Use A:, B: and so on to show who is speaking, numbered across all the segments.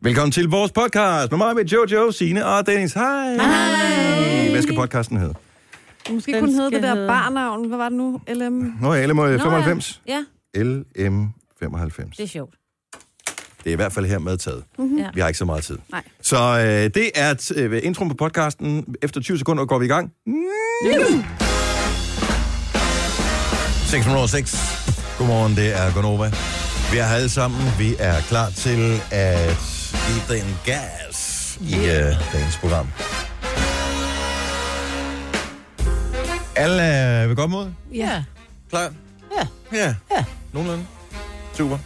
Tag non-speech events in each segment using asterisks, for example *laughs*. A: Velkommen til vores podcast med mig, med Jojo, Sine og Dennis. Hej. Hej. Hvad skal podcasten hedde?
B: Måske
C: Den
B: kunne den hedde det
C: skal
B: der
C: hedde-
B: barnavn. Hvad var det nu? LM?
A: Nå, ja, LM95.
C: Ja,
A: LM95.
C: det er sjovt.
A: Det er i hvert fald her med taget.
C: Mm-hmm. Ja.
A: Vi har ikke så meget tid.
C: Nej.
A: Så øh, det er t- øh, introen på podcasten. Efter 20 sekunder går vi i gang. Nu! 606. Godmorgen, det er Gonova. Vi er her alle sammen. Vi er klar til at give den gas i øh, dagens program. Alle er ved godt mod?
C: ja.
A: Klar?
D: Ja.
A: Ja.
D: Ja.
A: Nogenlunde. Super.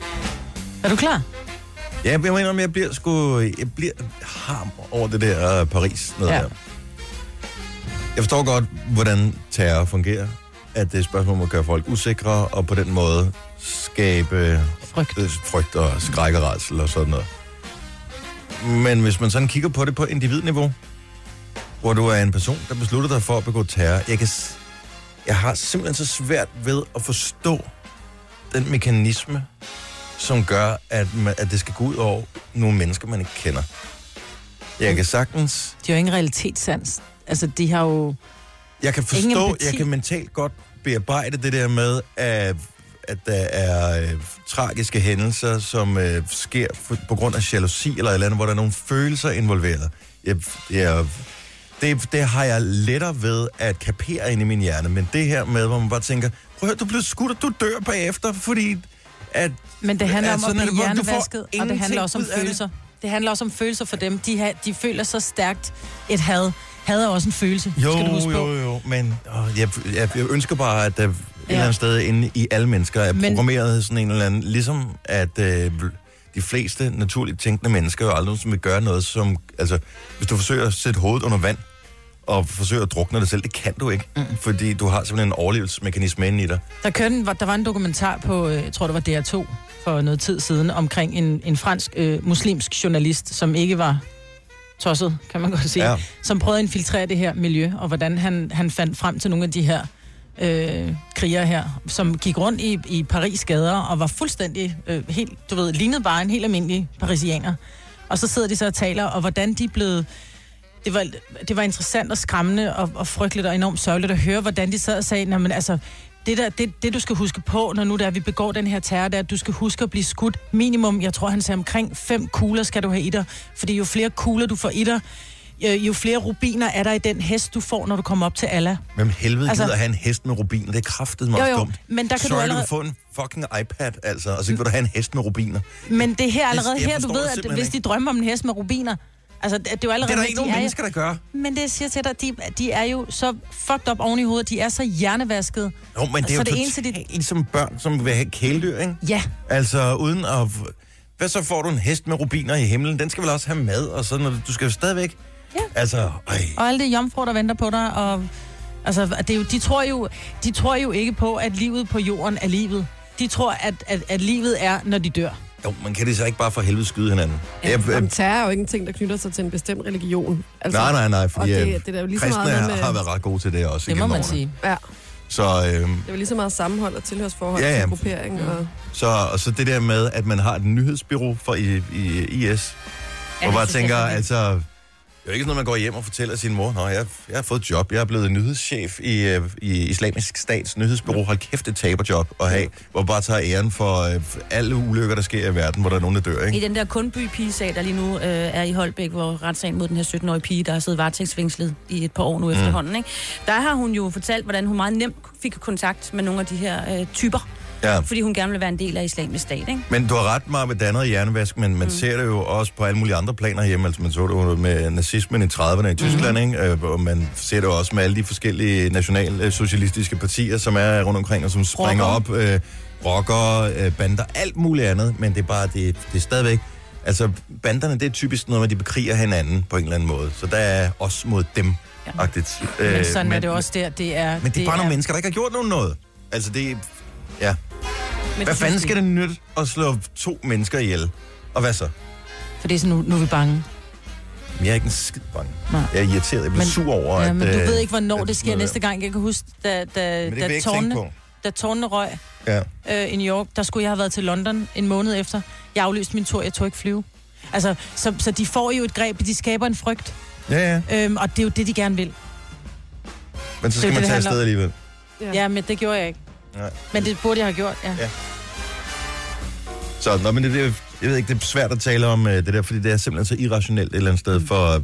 D: Er du klar?
A: Ja, jeg må indrømme, jeg bliver sgu... Jeg bliver ham over det der øh, Paris. Noget ja.
D: Ja.
A: der. Jeg forstår godt, hvordan terror fungerer. At det er et spørgsmål om at gøre folk usikre, og på den måde skabe
D: Frygt.
A: øh, frygt og skræk og rædsel og sådan noget. Men hvis man sådan kigger på det på individniveau, hvor du er en person, der beslutter dig for at begå terror, jeg, kan, s- jeg har simpelthen så svært ved at forstå den mekanisme, som gør, at, man, at det skal gå ud over nogle mennesker, man ikke kender. Jeg kan sagtens...
D: De har jo ingen realitetssans. Altså, de har jo...
A: Jeg kan
D: Ingen
A: forstå,
D: empati.
A: jeg kan mentalt godt bearbejde det der med, at, at der er øh, tragiske hændelser, som øh, sker f- på grund af jalousi eller et eller andet, hvor der er nogle følelser involveret. Jeg, jeg, det, det har jeg lettere ved at kapere ind i min hjerne, men det her med, hvor man bare tænker, prøv at høre, du bliver skudt, og du dør bagefter, fordi at
D: Men det handler
A: Altså,
D: om
A: når
D: at
A: det-
D: blive
A: hvor- du får
D: hjernevasket, og det handler
A: ingenting
D: også om
A: ud af det.
D: følelser. Det handler også om følelser for dem. De, har, de føler så stærkt et had. Had er også en følelse,
A: Jo,
D: skal du huske
A: jo,
D: på.
A: jo, men åh, jeg, jeg, jeg ønsker bare, at der et
D: Ja.
A: eller andet sted inde i alle mennesker er
D: Men-
A: programmeret sådan en eller anden, ligesom at øh, de fleste naturligt tænkende mennesker jo aldrig som vil gøre noget, som, altså, hvis du forsøger at sætte hovedet under vand, og forsøger at drukne dig selv, det kan du ikke, mm. fordi du har simpelthen en overlevelsesmekanisme inde i dig.
D: Der, kørte, en- der var en dokumentar på, øh, jeg tror det var DR2, for noget tid siden, omkring en, en fransk øh, muslimsk journalist, som ikke var tosset, kan man godt sige,
A: Ja.
D: ja. som prøvede at infiltrere det her miljø, og hvordan han, han fandt frem til nogle af de her øh, krigere her, som gik rundt i, i Paris gader og var fuldstændig øh, helt, du ved, lignede bare en helt almindelig parisianer. Og så sidder de så og taler, og hvordan de er blevet... Det var, det var interessant og skræmmende og, og frygteligt og enormt sørgeligt at høre, hvordan de sad og sagde, men altså, det, der, det, det du skal huske på, når nu der, vi begår den her terror, det er, at du skal huske at blive skudt minimum, jeg tror han sagde omkring fem kugler skal du have i dig, fordi jo flere kugler du får i dig, øh, jo flere rubiner er der i den hest, du får, når du kommer op til Allah.
A: Hvem helvede altså,
D: Altså-
A: gider have en hest med rubiner? Det er kraftet mig
D: Jo, jo,
A: dumt.
D: men der kan du
A: Sorry,
D: allerede-
A: du få en fucking iPad, altså, og så kan du have en hest med rubiner.
D: Men det er her allerede
A: jeg
D: her, du
A: forstår det
D: ved, at
A: simpelthen
D: hvis de drømmer om en hest med rubiner, altså det, det er jo
A: Det er
D: allerede...
A: der ikke
D: de
A: nogen
D: er jo-
A: mennesker, der gør.
D: Men det jeg siger til dig, de, de er jo så fucked op oven i hovedet, de er så hjernevasket.
A: Jo, men det er
D: Så
A: jo
D: det eneste,
A: totalt
D: de-
A: ligesom børn, som vil have kæledyr, ikke?
D: Ja,
A: Altså, uden at... Hvad så får du en hest med rubiner i himlen? Den skal vel også have mad og sådan noget. Du skal jo stadigvæk...
D: Ja.
A: Altså, ej.
D: og alle de jomfruer, der venter på dig, og altså, det er jo, de, tror jo, de tror jo ikke på, at livet på jorden er livet. De tror, at, at, at livet er, når de dør.
A: Jo, man kan det så ikke bare for helvede skyde hinanden. Ja. Jeg,
B: Jamen, terror er jo ikke en ting, der knytter sig til en bestemt religion. Altså,
A: nej, nej, nej,
B: og
A: fordi
B: det-
A: øh,
B: det er da jo lige så
A: kristne
B: meget
A: har,
B: med-
A: har været ret gode til det også.
D: Det må
A: igennem
D: man
A: årene.
D: sige.
B: Ja,
A: Så, øh,
B: det er jo lige så meget sammenhold og tilhørsforhold
A: Ja,
B: ja,
A: ja.
B: ja. til gruppering. Og...
A: så, og så det der med, at man har et nyhedsbyrå for I, I, IS, Ja, og bare
D: synes jeg
A: tænker,
D: er
A: altså... Det er jo ikke sådan, noget, man går hjem og fortæller sin mor, Nå, jeg, jeg har fået job, jeg er blevet nyhedschef i, øh, i Islamisk Stats nyhedsbureau. Hold kæft, det taberjob at have, hvor man bare tager æren for øh, alle ulykker, der sker i verden, hvor der er nogen, der dør,
C: I
A: ikke?
C: den der kundby-pigesag, der lige nu øh, er i Holbæk, hvor retssagen mod den her 17-årige pige, der har siddet varetægtsfængslet i et par år nu mm. efterhånden, ikke? der har hun jo fortalt, hvordan hun meget nemt fik kontakt med nogle af de her øh, typer,
A: Ja.
C: fordi hun gerne ville være en del af islamisk stat, ikke?
A: Men du har ret meget med dannet hjernevask, men man mm. ser det jo også på alle mulige andre planer hjemme. Altså, man så det jo med nazismen i 30'erne i Tyskland, mm. ikke? Øh, Og man ser det jo også med alle de forskellige nationalsocialistiske partier, som er rundt omkring, og som springer rocker. op. Øh, rocker, øh, bander, alt muligt andet. Men det er bare, det, det er stadigvæk... Altså, banderne, det er typisk noget med, at de bekriger hinanden på en eller anden måde. Så der er os mod dem-agtigt. Øh,
D: Men sådan er det også der. Det er,
A: Men det er bare nogle mennesker, der ikke har gjort nogen noget. Altså, det er... Ja.
C: Men
A: Hvad fanden skal det nytte at slå to mennesker ihjel? Og hvad så?
D: For det er sådan, nu, nu er vi bange.
A: Men Jeg er ikke en skid bange.
D: Nej.
A: Jeg er irriteret. Jeg bliver
D: Men-
A: sur over,
D: Ja, men
A: at...
D: du
A: øh,
D: ved ikke, hvornår
A: at
D: det sker
A: sådan noget
D: næste gang. Jeg kan huske, da, da,
A: Men det vil jeg
D: da,
A: ikke tænke på.
D: tårnene, da tårnene røg
A: Ja.
D: øh, i New York, der skulle jeg have været til London en måned efter. Jeg aflyste min tur, jeg tog ikke flyve. Altså, så, så de får jo et greb, de skaber en frygt,
A: Ja, ja.
D: øhm, og det er jo det, de gerne vil.
A: Men så
D: Det er
A: skal man
D: det, det
A: tage
D: handler
A: afsted
D: om.
A: alligevel.
B: Ja.
D: Ja, ja men det gjorde jeg ikke.
A: Nej.
D: Men det burde jeg have gjort, ja.
A: Ja. Så, nå, men det, det, jeg ved ikke, det er svært at tale om øh, det der, fordi det er simpelthen så irrationelt et eller andet
D: Mm.
A: sted for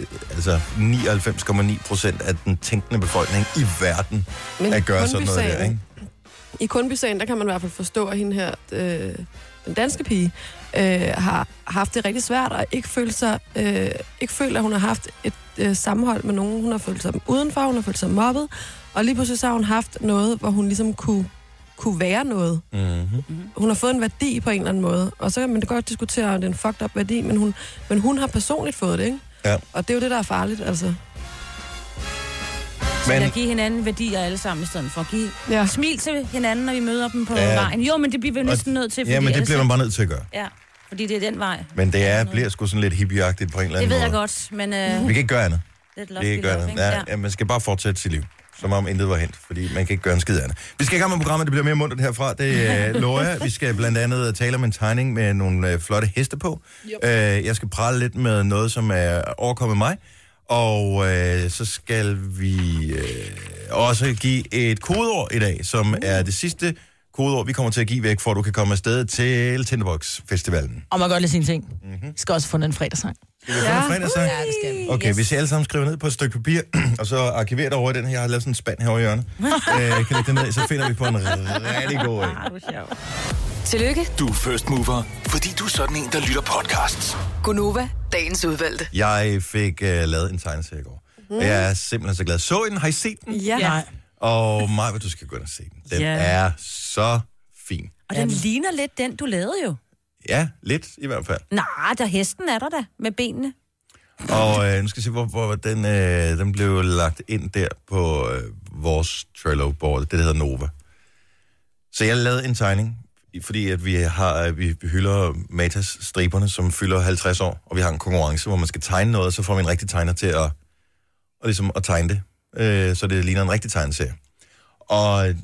A: øh, altså 99,9 procent af den tænkende befolkning i verden
B: Men
A: at gøre sådan noget der,
B: Kundbysagen-
A: ikke?
B: I Kundbysagen, der kan man i hvert fald forstå, at hende her, øh, den danske pige, øh, har haft det rigtig svært, og ikke følt, sig, øh, ikke følt at hun har haft et øh, sammenhold med nogen. Hun har følt sig udenfor, hun har følt sig mobbet, og lige pludselig så har hun haft noget, hvor hun ligesom kunne, kunne være noget.
A: Mm-hmm.
B: Hun har fået en værdi på en eller anden måde, og så kan man godt diskutere, om det er en fucked up værdi, men hun, men hun har personligt fået det, ikke?
A: Ja.
B: Og det er jo det, der er farligt, altså.
C: Men...
A: Men
C: At give hinanden værdier alle sammen i stedet for. Give
B: Ja.
C: smil til hinanden, når vi møder dem på
A: Ja.
C: ja. vejen. Jo, men det bliver vi
A: Og-
C: næsten nødt til, fordi altså-
A: ja, men det
C: ellers-
A: bliver man bare nødt til at gøre.
C: Ja, fordi det er den vej.
A: Men det er, bliver sgu sådan lidt hippieagtigt på en eller anden
C: Det ved
A: måde.
C: jeg godt, men øh,
A: Vi kan ikke gøre andet.
C: lidt
A: Vi kan ikke gøre andet. Ja, ja, man skal bare fortsætte sit liv. Som om intet var hent, fordi man kan ikke gøre en skid andet. Vi skal i gang med programmet, det bliver mere mundt herfra. Det øh, *laughs* lover jeg. Vi skal blandt andet øh, tale om en tegning med nogle øh, flotte heste på. Øh, jeg skal prale lidt med noget, som er overkommet mig. Og øh, så skal vi øh, også give et kodeord i dag, som er det sidste kodeord, vi kommer til at give væk, for at du kan komme afsted til Tinderbox Festivalen.
D: Og man kan godt lide sine ting. Mm-hmm. Skal også have fundet en fredagssang.
A: Mhm. Skal vi ja. få en fredagssang?
D: det skal vi.
A: Okay, yes. hvis I alle sammen skriver ned på et stykke papir, *clears throat* og så arkiverer det over i den her, jeg har lavet sådan en spand herovre i hjørnet, øh, kan lægge det ned, i, så finder vi på en rigtig god en.
E: Tillykke,
F: Du er first mover, fordi du er sådan en, der lytter podcasts.
E: Gunova, dagens udvalgte.
A: Jeg fik øh, lavet en tegneserie i går,
E: Mm.
A: og jeg er simpelthen så glad. Så den, har I set den?
B: Ja.
D: Nej.
A: Og Maja, du skal gå ind og se den. Den
C: Ja.
A: er så fin.
C: Og den ligner lidt den, du lavede jo.
A: Ja, lidt i hvert fald.
C: Nej, der hesten er der da, med benene.
A: Og øh, nu skal jeg se, hvor, hvor den, øh, den blev lagt ind der på øh, vores Trello-board. Det der hedder Nova. Så jeg lavede en tegning, i- fordi at vi, har, øh, vi vi hylder Matas-striberne, som fylder 50 år, og vi har en konkurrence, hvor man skal tegne noget, og så får man en rigtig tegner til at, og ligesom at tegne det, øh, så det ligner en rigtig tegneserie. Og øh,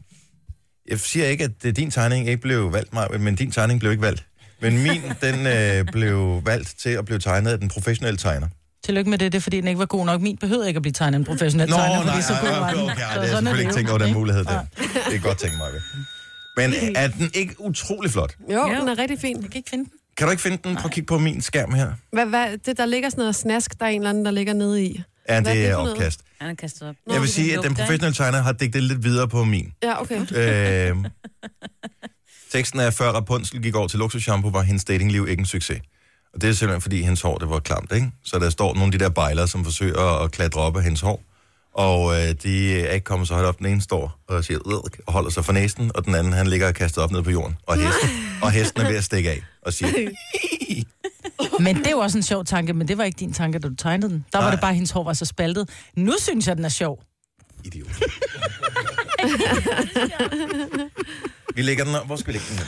A: jeg siger ikke, at øh, din tegning ikke blev valgt, Maja, men din tegning blev ikke valgt. Men min, den øh, blev valgt til at blive tegnet af den professionelle tegner.
D: Tillykke med det, det er fordi den ikke var god nok. Min behøvede ikke at blive tegnet af en professionel
A: Nå,
D: tegner,
A: nej,
D: fordi så
A: nej,
D: god
A: nej,
D: var
A: okay,
D: den.
A: okay,
D: Så
A: det har
D: sådan
A: jeg
D: er
A: selvfølgelig ikke
D: det
A: tænkt
D: jo,
A: over den
D: ikke?
A: mulighed der. Det er godt tænkt, Maja. Men er den ikke utrolig flot?
B: Jo,
C: Ja.
B: den er rigtig fin.
D: Jeg kan ikke finde den.
A: Kan du ikke finde den? Prøv at kigge på min skærm her.
B: Hvad, hvad, det, der ligger sådan noget snask, der er en eller anden, der ligger nede i.
A: Ja,
B: Hvad er
A: det
B: det
A: er
B: for noget?
A: opkast.
C: Han er kastet op.
A: Jeg vil sige, at den professionelle tegner har digtet lidt videre på min.
B: Ja, okay.
A: Øhm, teksten er, før Rapunzel gik over til luksusshampoo, var hendes datingliv ikke en succes. Og det er simpelthen, fordi hendes hår, det var klamt, ikke? Så der står nogle af de der bejlere, som forsøger at klatre op af hendes hår. Og øh, de er ikke kommet så højt op. Den ene står og siger, "Ugh," og holder sig for næsen, og den anden, han ligger og kastet op ned på jorden. Og hesten, og hesten er ved at stikke af og siger,
D: *laughs* Men det er jo også en sjov tanke, men det var ikke din tanke, da du tegnede den. Der var
A: Nej.
D: det bare, at hendes hår var så spaltet. Nu synes jeg, den er sjov.
A: idiot. vi lægger den op. Hvor skal vi lægge den hen?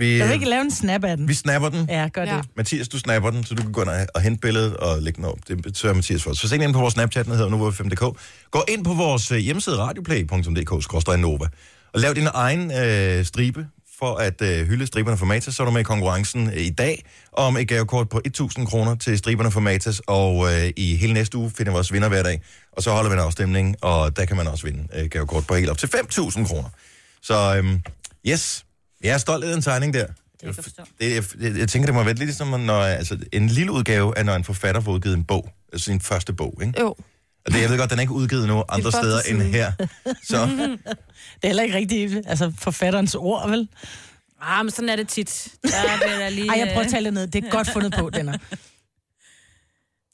A: Vi,
D: Jeg vil ikke lave en snap af den.
A: vi snapper den.
D: Ja, gør
B: Ja.
D: det.
A: Mathias, du snapper den, så du kan gå ind og- og hente billedet og lægge den op. Det tør Mathias for. Så se ind på vores Snapchat, den hedder Nova5.dk. Gå ind på vores øh, hjemmeside radioplay.dk-nova og lav din egen øh, stribe for at øh, hylde striberne for Matas, så er du med i konkurrencen øh, i dag om et gavekort på 1.000 kroner til striberne for Matas, og øh, i hele næste uge finder vi også vinder hver dag, og så holder vi en afstemning, og der kan man også vinde øh, gavekort på helt op til 5.000 kroner. Så øhm, yes, jeg er stolt af den tegning der.
C: jeg godt forstå.
A: Det, jeg, jeg, jeg tænker, det må være lidt ligesom, når altså, en lille udgave er, når en forfatter får udgivet en bog. Altså sin første bog, ikke?
B: Jo.
A: Og det, jeg ved godt, den er ikke udgivet nogen andre
B: første
A: steder end
B: side.
A: *laughs* her.
B: *laughs*
A: Så,
D: Det er heller ikke rigtigt altså, forfatterens ord, vel?
C: Ah, men sådan er det tit. Der bliver der lige,
D: Ej, jeg prøver at
C: øh,
D: tale det ned. Det er *laughs* godt fundet på, Denner.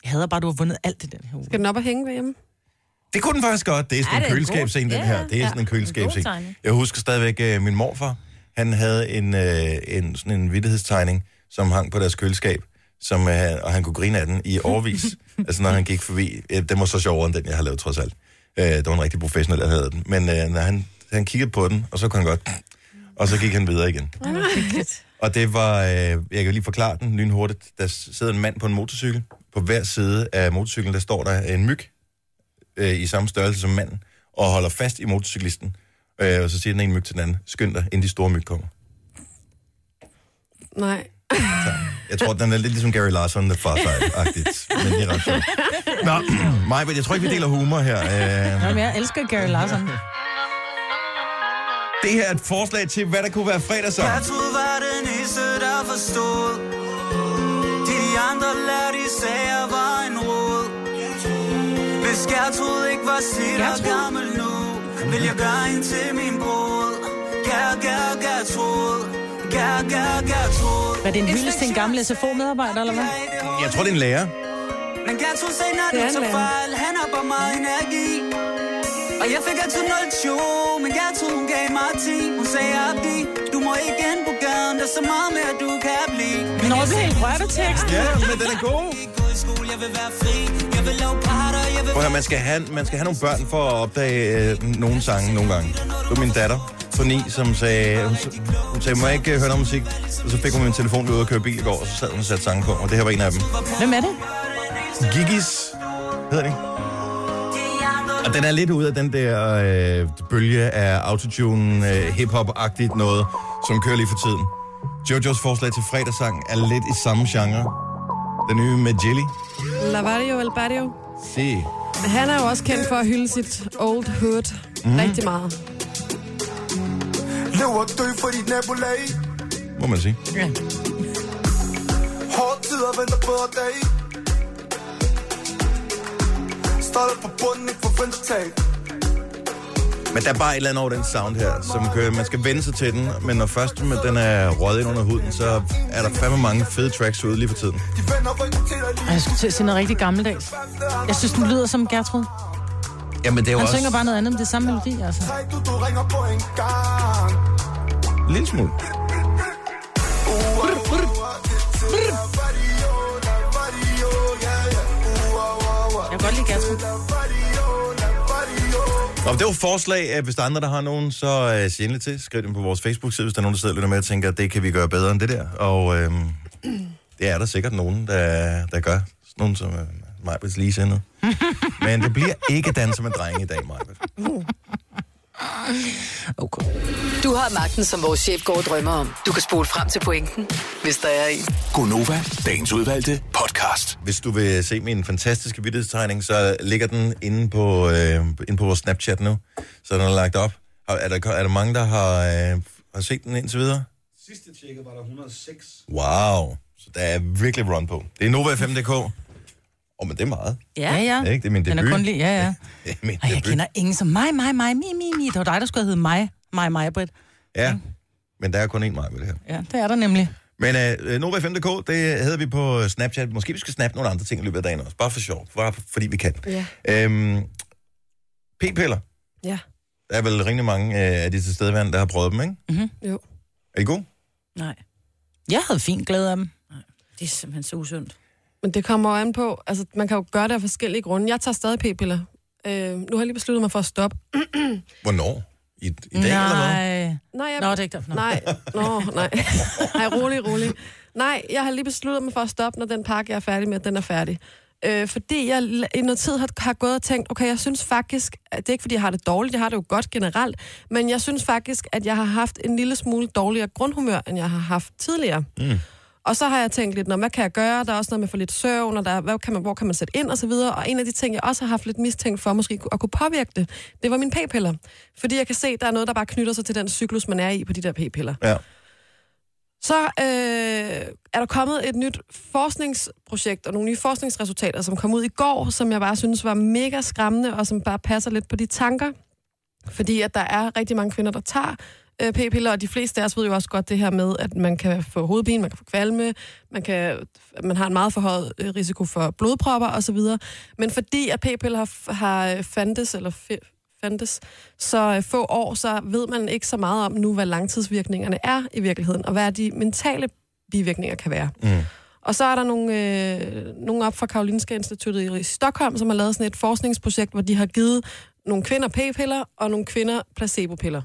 D: Jeg hader bare, at du har vundet alt det den her uge.
B: Skal den op og hænge ved hjemme?
A: det kunne den faktisk godt. Det er sådan
C: Er
A: en
C: det en
A: køleskabscene,
C: god-
A: den
C: Ja,
A: her. Det er
C: ja.
A: sådan en
C: En god
A: køleskabscene.
C: tegning.
A: Jeg husker stadigvæk øh, min morfar. Han havde en, øh, en, sådan en vittighedstegning, som hang på deres køleskab, som, øh, og han kunne grine af den i
C: *laughs*
A: årvis. altså når han gik forbi. Øh, den var så sjovere end den, jeg har lavet trods alt. Øh, det var en rigtig professionel, der havde den. Men øh, når han, han kiggede på den, og så kunne han godt... Og så gik han videre igen.
G: *laughs*
A: Og det var, øh, jeg kan jo lige forklare den lynhurtigt. Der sidder en mand på en motorcykel. På hver side af motorcyklen, der står der en myg øh, i samme størrelse som manden, og holder fast i motorcyklisten. Øh, og så siger den ene myg til den anden, skynd dig, inden de store myg kommer.
B: Nej.
A: Jeg Jeg tror, den er lidt ligesom Gary Larson, The Far Side-agtigt. Men det er ret sjovt. Nå, Maja, jeg tror ikke, vi deler humor her. Øh,
D: Nå, men jeg elsker Gary Larson.
A: Det her er et forslag til, hvad der kunne være fredagssang.
H: Jeg troede var den eneste, der forstod De andre lærte de sager var en rod Hvis Gertrud ikke var slidt og gammel nu Vil jeg gøre hende til min bror Gær, gær, Gertrud Gær, gær, Gertrud
D: Var det en hyldest til en gammel SFO-medarbejder, eller hvad?
A: Jeg tror, det er en lærer.
H: Men Gertrud sagde, når
B: Det
H: det
B: er en
H: tog
B: lærer.
H: fejl Han har bare meget energi og jeg fik altid 0 men jeg tog, hun gav mig 10. Hun sagde, Abdi, du må ikke ind på gaden, der er så meget mere, du kan blive. Men
D: Nå,
H: jeg
D: det er helt rørt af teksten.
A: Ja, men den er god.
H: gå i skole, jeg vil være fri. Jeg vil lave parter, jeg vil
A: Prøv at høre, man skal, have, man skal have nogle børn for at opdage øh, nogle sange nogle gange. Det var min datter på ni, som sagde, hun, hun sagde, må jeg ikke øh, høre noget musik? Og så fik hun min telefon, vi var ude og køre bil i går, og så sad hun og satte sange på, og det her var en af dem.
D: Hvem er det?
A: Gigis hedder det. Og den er lidt ud af den der øh, bølge af autotune, øh, hiphop-agtigt noget, som kører lige for tiden. Jojos forslag til fredagssang er lidt i samme genre. Den nye med Jelly.
B: Lavario El Barrio.
A: Se.
B: Han er jo også kendt for at hylde sit old hood
A: Mhm.
B: mm. rigtig meget.
G: Lev og dø for dit nabolag
A: Må man sige.
G: Hårde tider venter bedre dag Starter på bunden, ikke forventer tab
A: Men der er bare et eller andet over den sound her, som kører. Man skal vende sig til den, men når først med den er røget ind under huden, så er der fandme mange fede tracks ude lige for tiden.
G: De vender ryggen til dig lige
D: Ej, Jeg skulle til at sige noget rigtig gammeldags. Jeg synes, den lyder som Gertrud.
A: Jamen, det er jo
D: Han
A: også
D: synger bare noget andet, men det er samme melodi, altså.
G: Træk du, du ringer på en gang
A: en lille smule.
C: Jeg kan godt lide Gertrud.
A: Og det var forslag. Hvis der er andre, der har nogen, så øh, sig endelig til. Skriv dem på vores Facebook-side, hvis der er nogen, der sidder og lytter med og tænker, at det kan vi gøre bedre end det der. Og øh, *clears throat* det er der sikkert nogen, der, der gør. Sådan Nogen som øh, Majbets lige sendet. Men det bliver ikke danser med drenge i dag, Majbet.
D: Okay.
E: Du har magten, som vores chef går og drømmer om. Du kan spole frem til pointen, hvis der er en.
F: Gonova, dagens udvalgte podcast.
A: Hvis du vil se min fantastiske vittighedstegning, så ligger den inde på, øh, inde på vores Snapchat nu. Så den er lagt op. Har- Er der, er der mange, der har, øh, har set den indtil videre?
I: Sidste tjekket var der 106.
A: Wow. Så der er virkelig run på. Det er Nova5.dk. Åh, oh, men det er meget.
C: Ja,
D: Ja, ja.
A: Ja, ikke? Det er min
D: Den er
A: debut.
D: kun lige, ja, ja.
A: Det er min
D: Og jeg
A: debut.
D: kender ingen som mig, mig, mig, mi, mi, mi. Det var dig, der skulle hedde mig, mig, mig, Britt.
A: Ja, men der er kun én mig med det her.
D: Ja, det er der nemlig.
A: Men øh, Nova5.dk, det hedder vi på Snapchat. Måske vi skal snappe nogle andre ting i løbet af dagen også. Bare for sjov. Bare for- fordi vi kan.
B: Ja.
A: Øhm, P-piller.
B: Ja,
A: Der er vel rimelig mange øh, af de tilstedeværende, der har prøvet dem, ikke?
B: jo.
A: Er I gode?
C: Nej,
D: Mhm. Jeg havde fint glæde af dem.
C: det er simpelthen så usundt.
B: Men det kommer jo an på, altså man kan jo gøre det af forskellige grunde. Jeg tager stadig p-piller. Øh, nu har jeg lige besluttet mig for at stoppe.
A: Hvornår? I, i dag eller hvad?
D: Nej.
B: Nej, jeg...
D: Nå, det er ikke derfor. Nå.
B: Nej, nå, *laughs* nej. Nej, rolig, rolig. Nej, jeg har lige besluttet mig for at stoppe, når den pakke, jeg er færdig med, den er færdig. Øh, fordi jeg l- i noget tid har, har gået og tænkt, okay, jeg synes faktisk, at det er ikke fordi, jeg har det dårligt, jeg har det jo godt generelt, men jeg synes faktisk, at jeg har haft en lille smule dårligere grundhumør, end jeg har haft tidligere. Og så har jeg tænkt lidt, "Nå, hvad kan jeg gøre? Der er også noget med for lidt søvn, og der, er- hvad kan man, hvor kan man sætte ind og så videre. Og en af de ting, jeg også har haft lidt mistænkt for, måske at kunne påvirke det, det var mine p-piller. Fordi jeg kan se, der er noget, der bare knytter sig til den cyklus, man er i på de der p-piller.
A: Ja.
B: Så øh, er der kommet et nyt forskningsprojekt og nogle nye forskningsresultater, som kom ud i går, som jeg bare synes var mega skræmmende, og som bare passer lidt på de tanker. Fordi at der er rigtig mange kvinder, der tager øh, p-piller, og de fleste af os ved jo også godt det her med, at man kan få hovedpine, man kan få kvalme, man, kan, man har en meget forhøjet øh, risiko for blodpropper osv. Men fordi at p-piller har, har øh, fandtes, eller fi- fandtes, så øh, få år, så ved man ikke så meget om nu, hvad langtidsvirkningerne er i virkeligheden, og hvad de mentale bivirkninger kan være. Mm. Og så er der nogle, øh, nogle op fra Karolinska Instituttet i Stockholm, som har lavet sådan et forskningsprojekt, hvor de har givet nogle kvinder p-piller og nogle kvinder placebopiller.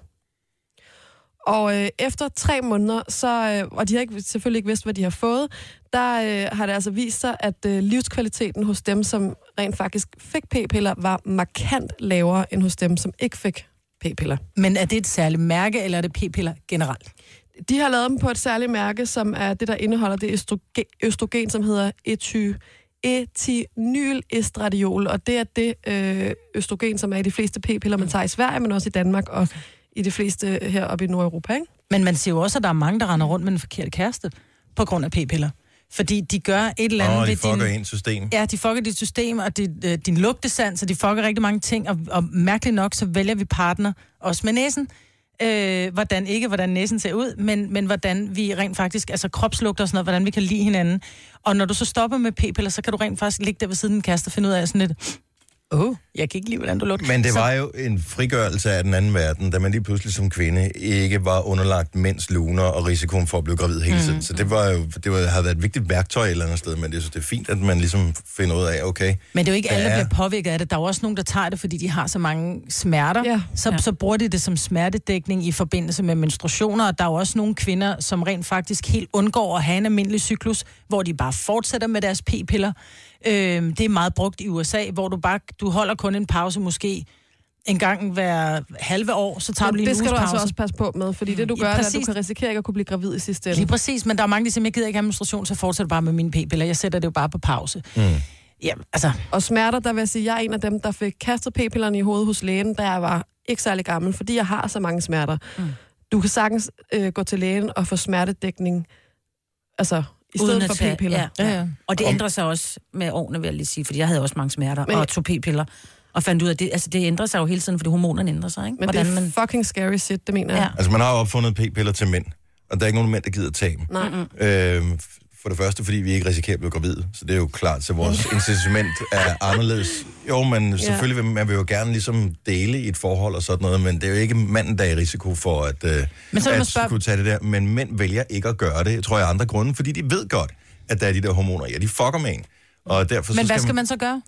B: Og øh, efter tre måneder, så, øh, og de har ikke, selvfølgelig ikke vidst, hvad de har fået, der øh, har det altså vist sig, at øh, livskvaliteten hos dem, som rent faktisk fik p-piller, var markant lavere end hos dem, som ikke fik p-piller.
D: Men er det et særligt mærke, eller er det p-piller generelt?
B: de har lavet dem på et særligt mærke, som er det, der indeholder det østrogen, østrogen som hedder ety, etinylestradiol, og det er det øh, østrogen, som er i de fleste p-piller,
D: Mm.
B: man tager i Sverige, men også i Danmark og i de fleste øh, heroppe i Nordeuropa. Ikke?
D: Men man ser jo også, at der er mange, der render rundt med en forkert kæreste på grund af p-piller. Fordi de gør et eller andet
A: Åh, de
D: ved
A: fucker
D: din...
A: ind system.
D: Ja, de fucker dit system og dit, øh, din lugtesans, og de fucker rigtig mange ting. Og, og mærkeligt nok, så vælger vi partner, også med næsen. Øh, hvordan ikke, hvordan næsen ser ud, men, men hvordan vi rent faktisk, altså kropslugter og sådan noget, hvordan vi kan lide hinanden. Og når du så stopper med p-piller, så kan du rent faktisk ligge der ved siden af din kæreste og finde ud af sådan lidt, åh, oh, jeg kan ikke lide, hvordan du lugter.
A: Men det
D: så,
A: var jo en frigørelse af den anden verden, da man lige pludselig som kvinde ikke var underlagt mænds luner og risikoen for at blive gravid hele
D: Mhm.
A: tiden. Så det, var jo, det var, har været et vigtigt værktøj et eller andet sted, men det, så det er fint, at man ligesom finder ud af, okay,
D: Men det er jo ikke alle, der
A: Ja.
D: bliver påvirket af det. Der er jo også nogen, der tager det, fordi de har så mange smerter.
B: Ja.
D: Så, så bruger de det som smertedækning i forbindelse med menstruationer. Og der er jo også nogle kvinder, som rent faktisk helt undgår at have en almindelig cyklus, hvor de bare fortsætter med deres p-piller. Øhm, det er meget brugt i USA, hvor du bare du holder kun en pause måske en gang hver halve år, så tager du
B: Men
D: lige
B: det
D: en
B: skal
D: uges
B: du altså
D: pause.
B: også passe på med, fordi det, du
D: Ja,
B: gør, ja, er, at du
D: præcis.
B: kan risikere ikke at kunne blive gravid i sidste ende.
D: Lige præcis, men der er mange, der siger, jeg gider ikke have menstruation, så jeg fortsætter bare med mine p-piller. Jeg sætter det jo bare på pause. Mm. Ja, altså,
B: Og smerter, der vil jeg sige, jeg er en af dem, der fik kastet p-pillerne i hovedet hos lægen, da jeg var ikke særlig gammel, fordi jeg har så mange smerter. Mm. Du kan sagtens øh, gå til lægen og få smertedækning, altså i stedet for
C: tage-
B: p-piller.
C: Ja, ja. Og det ændrer sig også med årene, vil jeg lige sige, fordi jeg havde også mange smerter
B: Men-
C: Men... og tog p-piller. Og fandt ud af, at det, altså, det ændrer sig jo hele tiden, fordi hormonerne ændrer sig, ikke?
B: Men
C: Hvordan
B: det er
C: man...
B: fucking scary shit, det mener jeg.
C: Ja.
A: altså man har jo opfundet p-piller til mænd, og der er ikke nogen mænd, der gider tage dem.
B: Nej.
A: Øhm, f- for det første, fordi vi ikke risikerer at blive gravide, så det er jo klart, så vores incitament er anderledes. Jo, men selvfølgelig vil man vil jo gerne ligesom dele i et forhold og sådan noget, men det er jo ikke manden, der er i risiko for at, øh,
D: Men så vil man
A: at
D: spørge-
A: kunne tage det der. Men mænd vælger ikke at gøre det, tror jeg, af andre grunde, fordi de ved godt, at der er de der hormoner. Ja, de fucker med en. Og derfor
D: men
A: så
D: hvad skal man så gøre?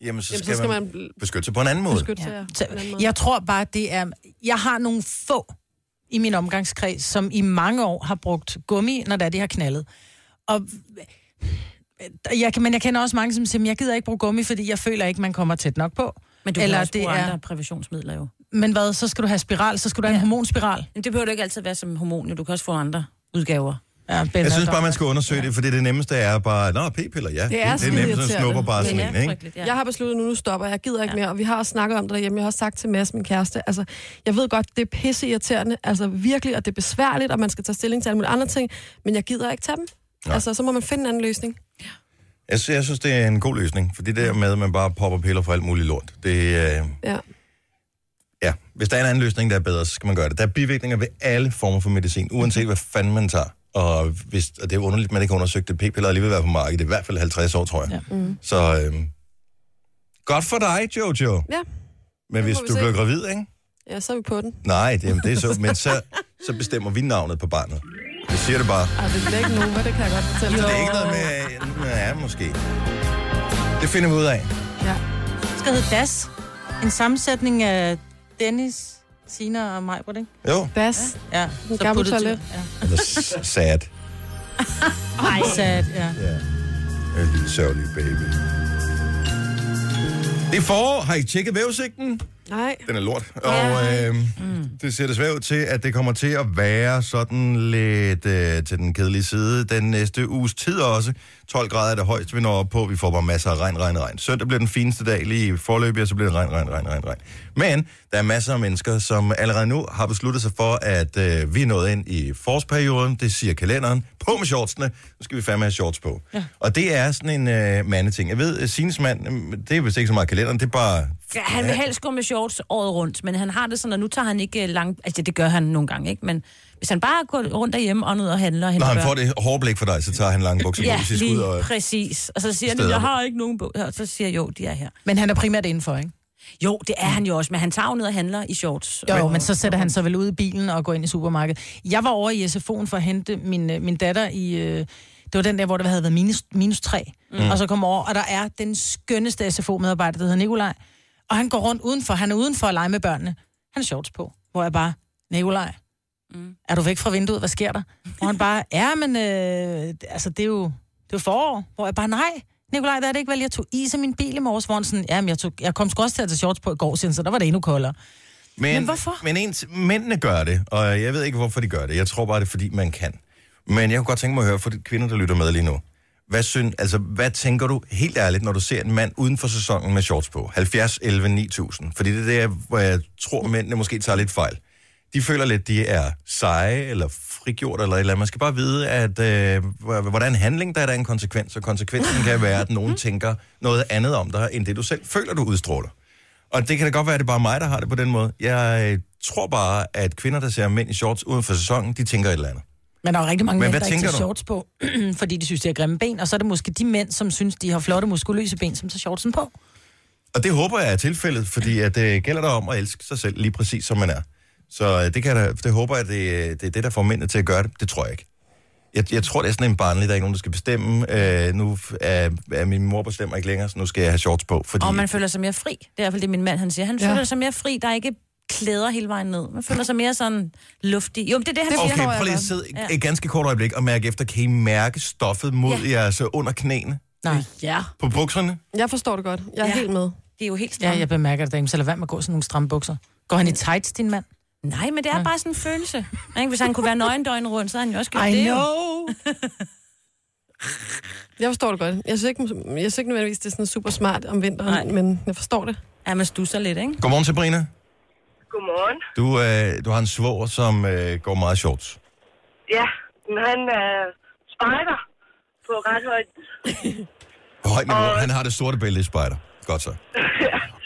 A: Jamen, så,
B: Jamen,
A: skal, så skal man,
B: bl-
A: beskytte sig på en anden måde.
B: Beskytte sig
D: Så
B: på en anden måde.
D: jeg tror bare, det er... Jeg har nogle få i min omgangskreds, som i mange år har brugt gummi, når det er, de har knaldet. Og jeg, kan- men jeg kender også mange, som siger, "Men jeg gider ikke bruge gummi, fordi jeg føler ikke, man kommer tæt nok på.
C: Men du Eller kan også
D: det
C: bruge
D: er-
C: andre præventionsmidler jo.
D: Men hvad, så skal du have spiral, så skal du have ja. en hormonspiral.
C: Men det behøver du ikke altid være som hormon, jo. du kan også få andre udgaver.
D: Ja,
A: Jeg synes bare, man skal undersøge det, for det er det nemmeste er bare, nå, p-piller, ja. Det
B: er
A: det, det er
B: skide
A: nemt, så
B: irriterende.
A: snupper bare sådan en, ikke?
C: frygteligt,
B: Ja. Jeg har besluttet, nu, nu stopper jeg. Jeg gider ikke ja.
C: Ja.
B: mere. Og vi har også snakket om det derhjemme. Jeg har også sagt til Mads, min kæreste, altså, jeg ved godt, det er pisse irriterende, altså virkelig, og det er besværligt, og man skal tage stilling til alle mulige andre ting, men jeg gider ikke tage dem. Nej. Altså, så må man finde en anden løsning.
A: Jeg synes, jeg synes, det er en god løsning, fordi det der med, at man bare popper piller for alt muligt lort, det øh,
B: Ja.
A: ja, hvis der er en anden løsning, der er bedre, så skal man gøre det. Der er bivirkninger ved alle former for medicin, uanset hvad fanden man tager. Og, hvis, og det er underligt, at man ikke har undersøgt det. P-piller har alligevel været på markedet, i hvert fald 50 år, tror jeg. Ja. Mm. Så øh, godt for dig, Jojo.
B: Ja.
A: Men hvis
B: vi
A: du
B: se.
A: bliver gravid, ikke?
B: ja, så er vi på den.
A: Nej, det, jamen, det er så, men så, så bestemmer vi navnet på barnet. Jeg siger det bare.
B: Ej, det bliver ikke Nova, det kan jeg godt fortælle.
A: Det er ikke noget med... Ja, måske. Det finder vi ud af.
B: Ja.
D: Det skal hedde DAS. En sammensætning af Dennis, Sina og mig, ikke?
A: Jo,
B: Bas.
D: Ja,
B: En gammel
D: puttet
B: toilet.
D: til- Ja.
A: eller s- sad.
D: Ej, sat, ja.
A: Ja. En lille sørgelig baby. Det er forår. Har I tjekket vævesigten?
B: Nej.
A: Den er lort. Og øh, det ser desværre ud til, at det kommer til at være sådan lidt øh, til den kedelige side den næste uges tid også. 12 grader er det højst, vi når op på. Vi får bare masser af regn, regn, regn. Søndag bliver den fineste dag lige i forløbet, og så bliver det regn, regn, regn, regn, regn. Men der er masser af mennesker, som allerede nu har besluttet sig for, at øh, vi er nået ind i forårsperioden. Det siger kalenderen. På med shortsene. Nu skal vi fandme have shorts på. Ja. Og det er sådan en øh, mandeting. Jeg ved, Sines mand, øh, det er vist ikke så meget kalenderen, det er bare...
C: Ja, han vil helst gå med shorts året rundt, men han har det sådan, at nu tager han ikke øh, lang... Altså, det gør han nogle gange, ikke? Men hvis han bare går rundt derhjemme og ned og handler
A: Når
C: og henter
A: han
C: børn-
A: får det hårde blik for dig, så tager han lange bukser
C: Ja,
A: ja, ud.
C: lige
A: Og...
C: præcis. Og så siger han,
A: steder,
C: jeg
A: hvor-
C: har ikke nogen bog. Og så siger jeg, jo, de er her.
D: Men han er primært indenfor, ikke?
C: Jo, det er han jo også, men han tager jo ned og handler i shorts.
D: Jo, men, men så sætter han sig vel ud i bilen og går ind i supermarkedet. Jeg var over i SFO'en for at hente min, øh, min datter i... Øh, det var den der, hvor der havde været minus, minus 3. Mm. Og så kom over, og der er den skønneste SFO-medarbejder, der hedder Nikolaj. Og han går rundt udenfor. Han er udenfor at lege med børnene. Han har shorts på, hvor jeg bare... Nikolaj, mm. er du væk fra vinduet? Hvad sker der? Hvor han bare... Ja, men øh, altså, det er jo det er jo forår. Hvor jeg bare... Nej, Nikolaj, der er det ikke vel, jeg tog is af min bil i morges, hvor han sådan, jamen, jeg, tog, jeg kom sgu også til at tage shorts på i går, siger han, så der var det endnu koldere.
A: Men,
D: Men hvorfor?
A: Men ens, mændene gør det, og jeg ved ikke, hvorfor de gør det. Jeg tror bare, det er, fordi man kan. Men jeg kunne godt tænke mig at høre fra de kvinder, der lytter med lige nu. Hvad, synes, altså, hvad tænker du helt ærligt, når du ser en mand uden for sæsonen med shorts på? 70, 11, 9000. Fordi det er der, hvor jeg tror, mændene måske tager lidt fejl. De føler lidt, de er seje eller frigjort eller et eller andet. Man skal bare vide, at øh, h- hvordan handling, der er der en konsekvens. Og konsekvensen kan være, at nogen tænker noget andet om dig, end det du selv føler, du udstråler. Og det kan da godt være, at det er bare mig, der har det på den måde. Jeg øh, tror bare, at kvinder, der ser mænd i shorts uden for sæsonen, de tænker et eller andet.
D: Men der er jo rigtig mange
A: Men
D: mænd,
A: hvad
D: der ikke
A: tænker
D: tager
A: du?
D: shorts på, *clears throat* fordi de synes, det er grimme ben. Og så er det måske de mænd, som synes, de har flotte, muskuløse ben, som tager shortsen på.
A: Og det håber jeg er tilfældet, fordi at det gælder der om at elske sig selv lige præcis, som man er. Så øh, det, kan jeg da, det håber jeg, det, øh, det er det, der får mændene til at gøre det. Det tror jeg ikke. Jeg, jeg tror, det er sådan en barnlig, der er ikke nogen, der skal bestemme. Øh, nu er, er min mor bestemmer ikke længere, så nu skal jeg have shorts på. Fordi,
C: Og man føler sig mere fri. Det er i hvert fald det, min mand han siger. Han
B: Ja.
C: ja. føler sig mere fri. Der er ikke klæder hele vejen ned. Man føler sig mere sådan luftig. Jo, men det er det, han
B: Det
C: siger.
B: forstår
A: okay,
B: jeg
A: prøv lige at
B: godt.
A: sidde
C: Ja.
A: et ganske kort øjeblik og mærke efter, kan I mærke stoffet mod ja.
C: Ja.
A: jeres øh, under knæene
D: Nej, ja.
A: på bukserne?
B: Jeg forstår det godt. Jeg er ja.
C: Ja.
B: helt med.
C: Det er jo helt stramt.
D: Ja, jeg bemærker det, Dame. så lad være med at gå i sådan nogle stramme bukser. Går han i tights, din mand?
C: Nej, men det er bare sådan en følelse. Ikke? Hvis han kunne være nøgen døgnet rundt, så havde han jo også gjort det.
D: I
C: jo.
D: know!
B: Jeg forstår det godt. Jeg synes ikke, jeg synes ikke nødvendigvis, det er sådan super smart om vinteren, Nej.
C: Nej.
B: men jeg forstår det.
C: Ja, man stusser lidt, ikke?
A: Godmorgen, Sabrina.
J: Godmorgen.
A: Du, øh, du har en svoger, som øh, går meget i shorts.
J: Ja, men han er spejder på ret højt.
A: På højt niveau.
J: Og-
A: Han har det sorte bælte i spejder. Godt så.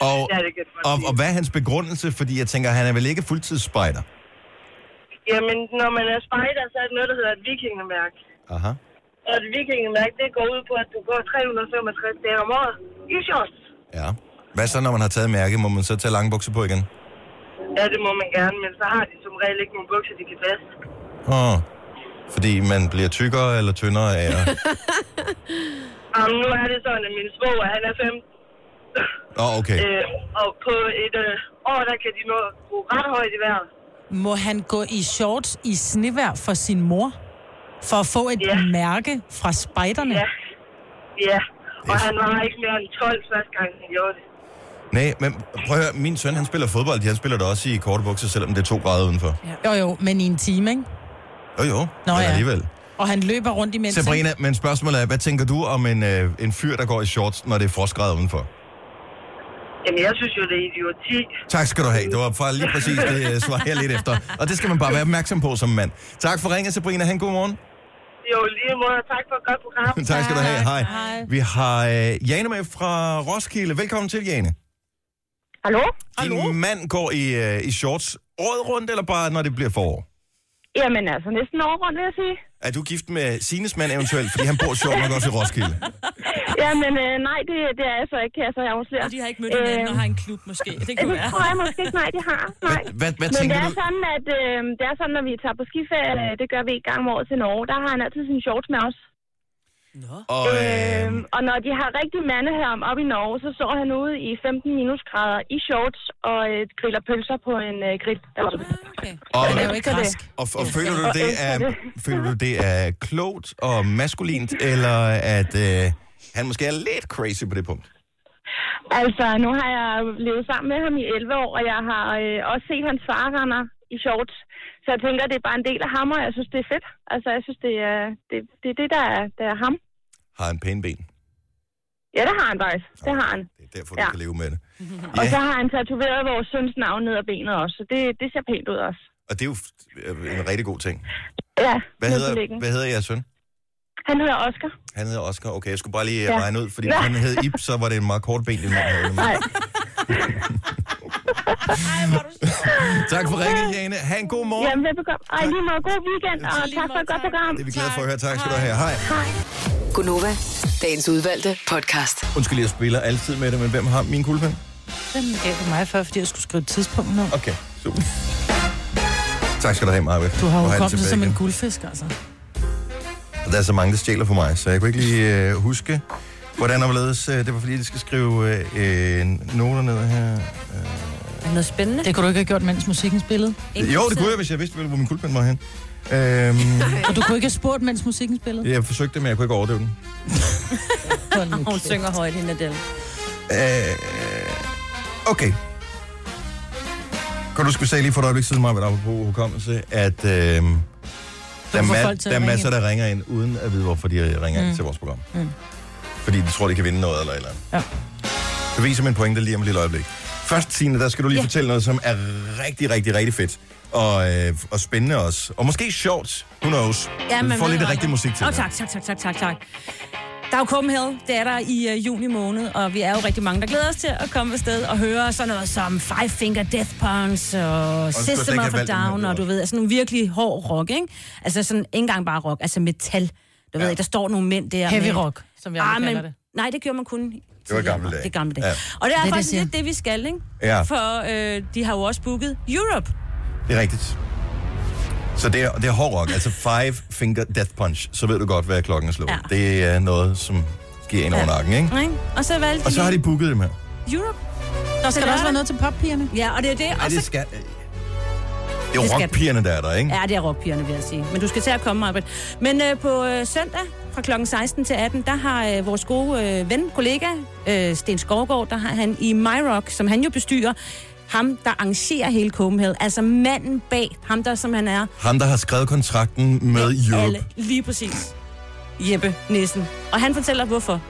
A: Og,
J: Ja, det kan du godt
A: og,
J: sige.
A: og hvad er hans begrundelse? Fordi jeg tænker, han er vel ikke fuldtidsspejder?
J: Jamen, når man er spejder, så er det noget, der hedder et vikingemærke.
A: Aha.
J: Og et vikingemærke, det går ud på, at du går 365 dage om året i shorts.
A: Ja. Hvad så, når man har taget mærke? Må man så tage lange bukser på igen?
J: Ja, det må man gerne, men så har de som regel ikke nogle bukser, de kan passe.
A: Åh. Fordi man bliver tykkere eller tyndere af... at-
J: Jamen, nu er det sådan, at min svoger, han er 5,
A: Åh, oh, okay.
J: øh, og på et øh, år, der kan de nå at gå ret højt i vejret.
D: Må han gå i shorts i snevær for sin mor? For at få et
J: Ja.
D: ja. mærke fra spejderne?
J: Ja, ja. Og
A: Det er-
J: han var ikke mere end 12 første gang, han gjorde det.
A: Nej, men prøv at høre, min søn, han spiller fodbold. Han spiller det også i korte bukser, selvom det er to grader udenfor.
D: Jo, jo, men i en time, ikke?
A: Jo, jo.
D: Nå
A: men
D: ja.
A: alligevel.
D: Og han løber rundt imens. ikke?
A: Sabrina, men spørgsmålet er, hvad tænker du om en, øh, en fyr, der går i shorts, når det er frostgrader udenfor?
J: Jamen, jeg synes jo, det er idioti.
A: Tak skal du have. Det var bare lige præcis det øh, svar, jeg lidt efter. Og det skal man bare være opmærksom på som mand. Tak for ringet, Sabrina. Han god morgen.
J: Jo, lige måde. Tak for et godt program.
A: *laughs* tak skal du have. Hej. Vi har øh, Jane med fra Roskilde. Velkommen til, Jane.
J: Hallo?
A: Din mand går i, øh, i shorts året rundt, eller bare når det bliver forår?
J: Jamen, altså næsten over rundt, vil jeg
C: *laughs*
J: sige.
A: Er du gift med Sines mand eventuelt, fordi han bor sjovt nok også i Roskilde?
J: Jamen, øh, nej, det, det er jeg så ikke, kan jeg så afsløre. Øh,
C: Og de har ikke mødt hinanden og har en klub måske. Det kan
J: Det
C: være.
J: tror jeg måske ikke, nej, de
C: *laughs*
J: har. Nej.
A: Hvad, hvad, hvad
J: Men det
A: tænker
J: er,
A: du?
J: sådan, at, øh, det er sådan, når vi tager på skiferie, øh, det gør vi et gang om året til Norge, der har han altid sin shorts med os.
A: Og, øh,
J: Øhm, og når de har rigtig mandehørm op i Norge, så står han ude i 15 minusgrader i shorts og øh, griller pølser på en øh, grill.
C: Ah, Okay.
A: og,
D: Han er jo ikke
J: Så det-
D: rask.
A: og, og føler du det
J: elsker
A: er,
J: det.
A: føler du det er klogt og maskulint, eller at øh, han måske er lidt crazy på det punkt?
J: Altså, nu har jeg levet sammen med ham i 11 år, og jeg har øh, også set hans far render i shorts. Så jeg tænker, det er bare en del af ham, og jeg synes, det er fedt. Altså, jeg synes, det er det, det, er det der, er, der er ham.
A: Har han pæne ben?
J: Ja, det har han faktisk. Det har han.
A: Det er derfor, du ja.
J: Ja.
A: kan leve med det.
J: Og
A: Ja.
J: så har han tatoveret vores søns navn ned ad benet også, så det, det ser pænt ud også.
A: Og det er jo f- øh, en rigtig god ting.
J: Ja,
A: Hvad
J: ned på
A: hedder,
J: læggen.
A: hvad hedder jeres søn?
J: Han hedder Oscar.
A: Han hedder Oscar. Okay, jeg skulle bare lige ja.
J: Ja.
A: regne ud, fordi ja. han hed Ip, så var det en meget kort ben, din mand havde.
J: Nej.
A: Tak for ringen, Jane. Ha' en god morgen.
J: Jamen, velbekomme. Og lige meget god weekend, og tak for et godt program.
A: Det er vi glade for at høre. Tak skal du have. Hej.
E: Gunova, dagens udvalgte podcast.
A: Undskyld, jeg spiller altid med det, men hvem har min kuglepen?
D: Den gav du mig før, fordi jeg skulle skrive et tidspunkt ned.
A: Okay, super. Tak skal du have, Marve.
D: Du har jo kommet som en guldfisk, altså.
A: Der er så mange, der stjæler for mig, så jeg kunne ikke lige øh, huske, hvordan og hvorledes. Øh, det var fordi, de skal skrive øh, øh, noter ned her. Øh,
C: Er noget spændende?
D: Det kunne du ikke have gjort, mens musikken spillede.
A: Jo, det kunne jeg, hvis jeg vidste, hvor min kuglepen var hen. Øhm,
D: Og du kunne ikke have spurgt, mens musikken spillede.
A: jeg forsøgte det, men jeg kunne ikke overdøve den.
D: *laughs* Hold nu
C: Hun
D: kæft.
C: synger højt, hende Adele.
A: Øh, okay. Kan du skulle sige lige for et øjeblik siden, Maja, apropos hukommelse, at øh, der, er
D: får
A: ma-
D: folk til
A: der
D: at
A: er
D: ringe
A: masser, der ringer ind, uden at vide, hvorfor de ringer mm.
D: Mm.
A: ind til vores program.
D: Mm.
A: Fordi de tror, de kan vinde noget eller et eller andet.
D: Ja.
A: Så viser min pointe lige om et lille øjeblik. Først, Signe, der skal du lige
C: Ja.
A: yeah. fortælle noget, som er rigtig, rigtig, rigtig fedt. Og, øh, og spændende også. Og måske sjovt. Who knows? vi får
C: ved
A: lidt
C: jo
A: rigtig
C: aldrig.
A: musik til.
C: Åh, tak, tak, tak, tak, tak, tak. Der er jo Copenhagen, det er der i øh, juni måned, og vi er jo rigtig mange, der glæder os til at komme afsted og høre sådan noget som Five Finger Death Punks og,
K: du skulle slet
C: System
K: ikke
C: of
K: have
C: a
K: valgt den her
C: Down,
K: lyd
C: og du ved, altså nogle virkelig hård rock, ikke? Altså sådan ikke engang bare rock, altså metal. Du ja. ved, der står nogle mænd der.
D: Heavy
C: med-
D: rock, som jeg
C: ah,
D: kalder
C: men,
D: det.
C: Nej, det gjorde man kun
A: Det var i gamle dage.
C: det er gamle dage.
A: Ja.
C: Og det
A: Det
C: er
A: er
C: det,
A: det,
C: faktisk
A: jeg
C: lidt det, vi skal, ikke?
A: Ja.
C: For øh, de har jo også booket Europe.
A: Det er rigtigt. Så det er, det er hård rock, altså Five Finger Death Punch. Så ved du godt, hvad klokken er slået. Ja. Det er noget, som giver en ja. over nakken, ikke?
C: Ikke? Og så valgte
A: Og så har
C: lige
A: de booket dem her.
C: Europe.
D: Der skal der også være noget
C: til poppigerne. Ja, og det er det.
A: Ej,
C: Og
A: det
C: så...
A: skal... Det er
C: Det
A: jo
C: skal-
A: rockpigerne, der er der, ikke?
C: Ja, det er rockpigerne, vil jeg sige. Men du skal til at komme, Marbet. Men øh, på øh, søndag fra kl. 16 til 18, der har øh, vores gode øh, ven, kollega, øh, Sten Skovgaard, der har han i MyRock, som han jo bestyrer, ham, der arrangerer hele Copenhagen. Altså manden bag ham, der som han er.
A: Ham, der har skrevet kontrakten med Europe.
C: Alle, lige præcis. Jeppe Nissen. Og han fortæller, hvorfor.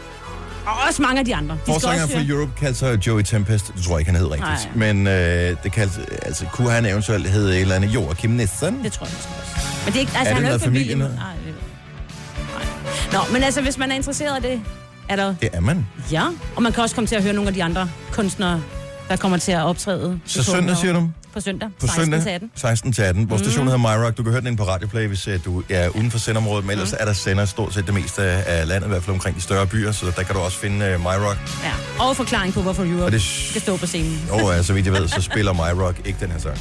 C: Og også mange af de andre. De skal
A: Forsangeren
C: også
A: for
C: høre.
A: Europe kaldte sig Joey Tempest. Det tror jeg ikke, han hed rigtigt.
C: Nej.
A: Men øh, det kaldte, altså, kunne han eventuelt hedde et eller andet Joachim Nissen?
C: Det tror jeg måske også. Men det er ikke, altså,
A: Er det
C: han er jo
A: noget
C: ikke familie.
A: familie
C: med-
A: noget?
C: Nej, det ved jeg ikke. Nej. Nå, men altså, hvis man er interesseret i det, er der...
A: Det er man.
C: Ja, og man kan også komme til at høre nogle af de andre kunstnere, der kommer til at optræde. i
A: Så
C: Copenhagen.
A: søndag, siger du?
C: På søndag.
A: På
C: 16 til
A: søndag
C: 18.
A: 16 til 18.
D: Mhm.
A: Vores station
C: Mm.
A: hedder MyRock. Du kan høre den inde på Radioplay, hvis øh, du er uden for sendområdet. Men
D: Mhm.
A: ellers er der sender stort set det meste af landet, i hvert fald omkring de større byer. Så der kan du også finde øh, MyRock.
C: Ja, og forklaring på, hvorfor Europe
A: Og
C: det...
A: det-
C: skal stå på scenen.
A: Jo, ja, så vidt jeg ved, så spiller MyRock ikke den her sang.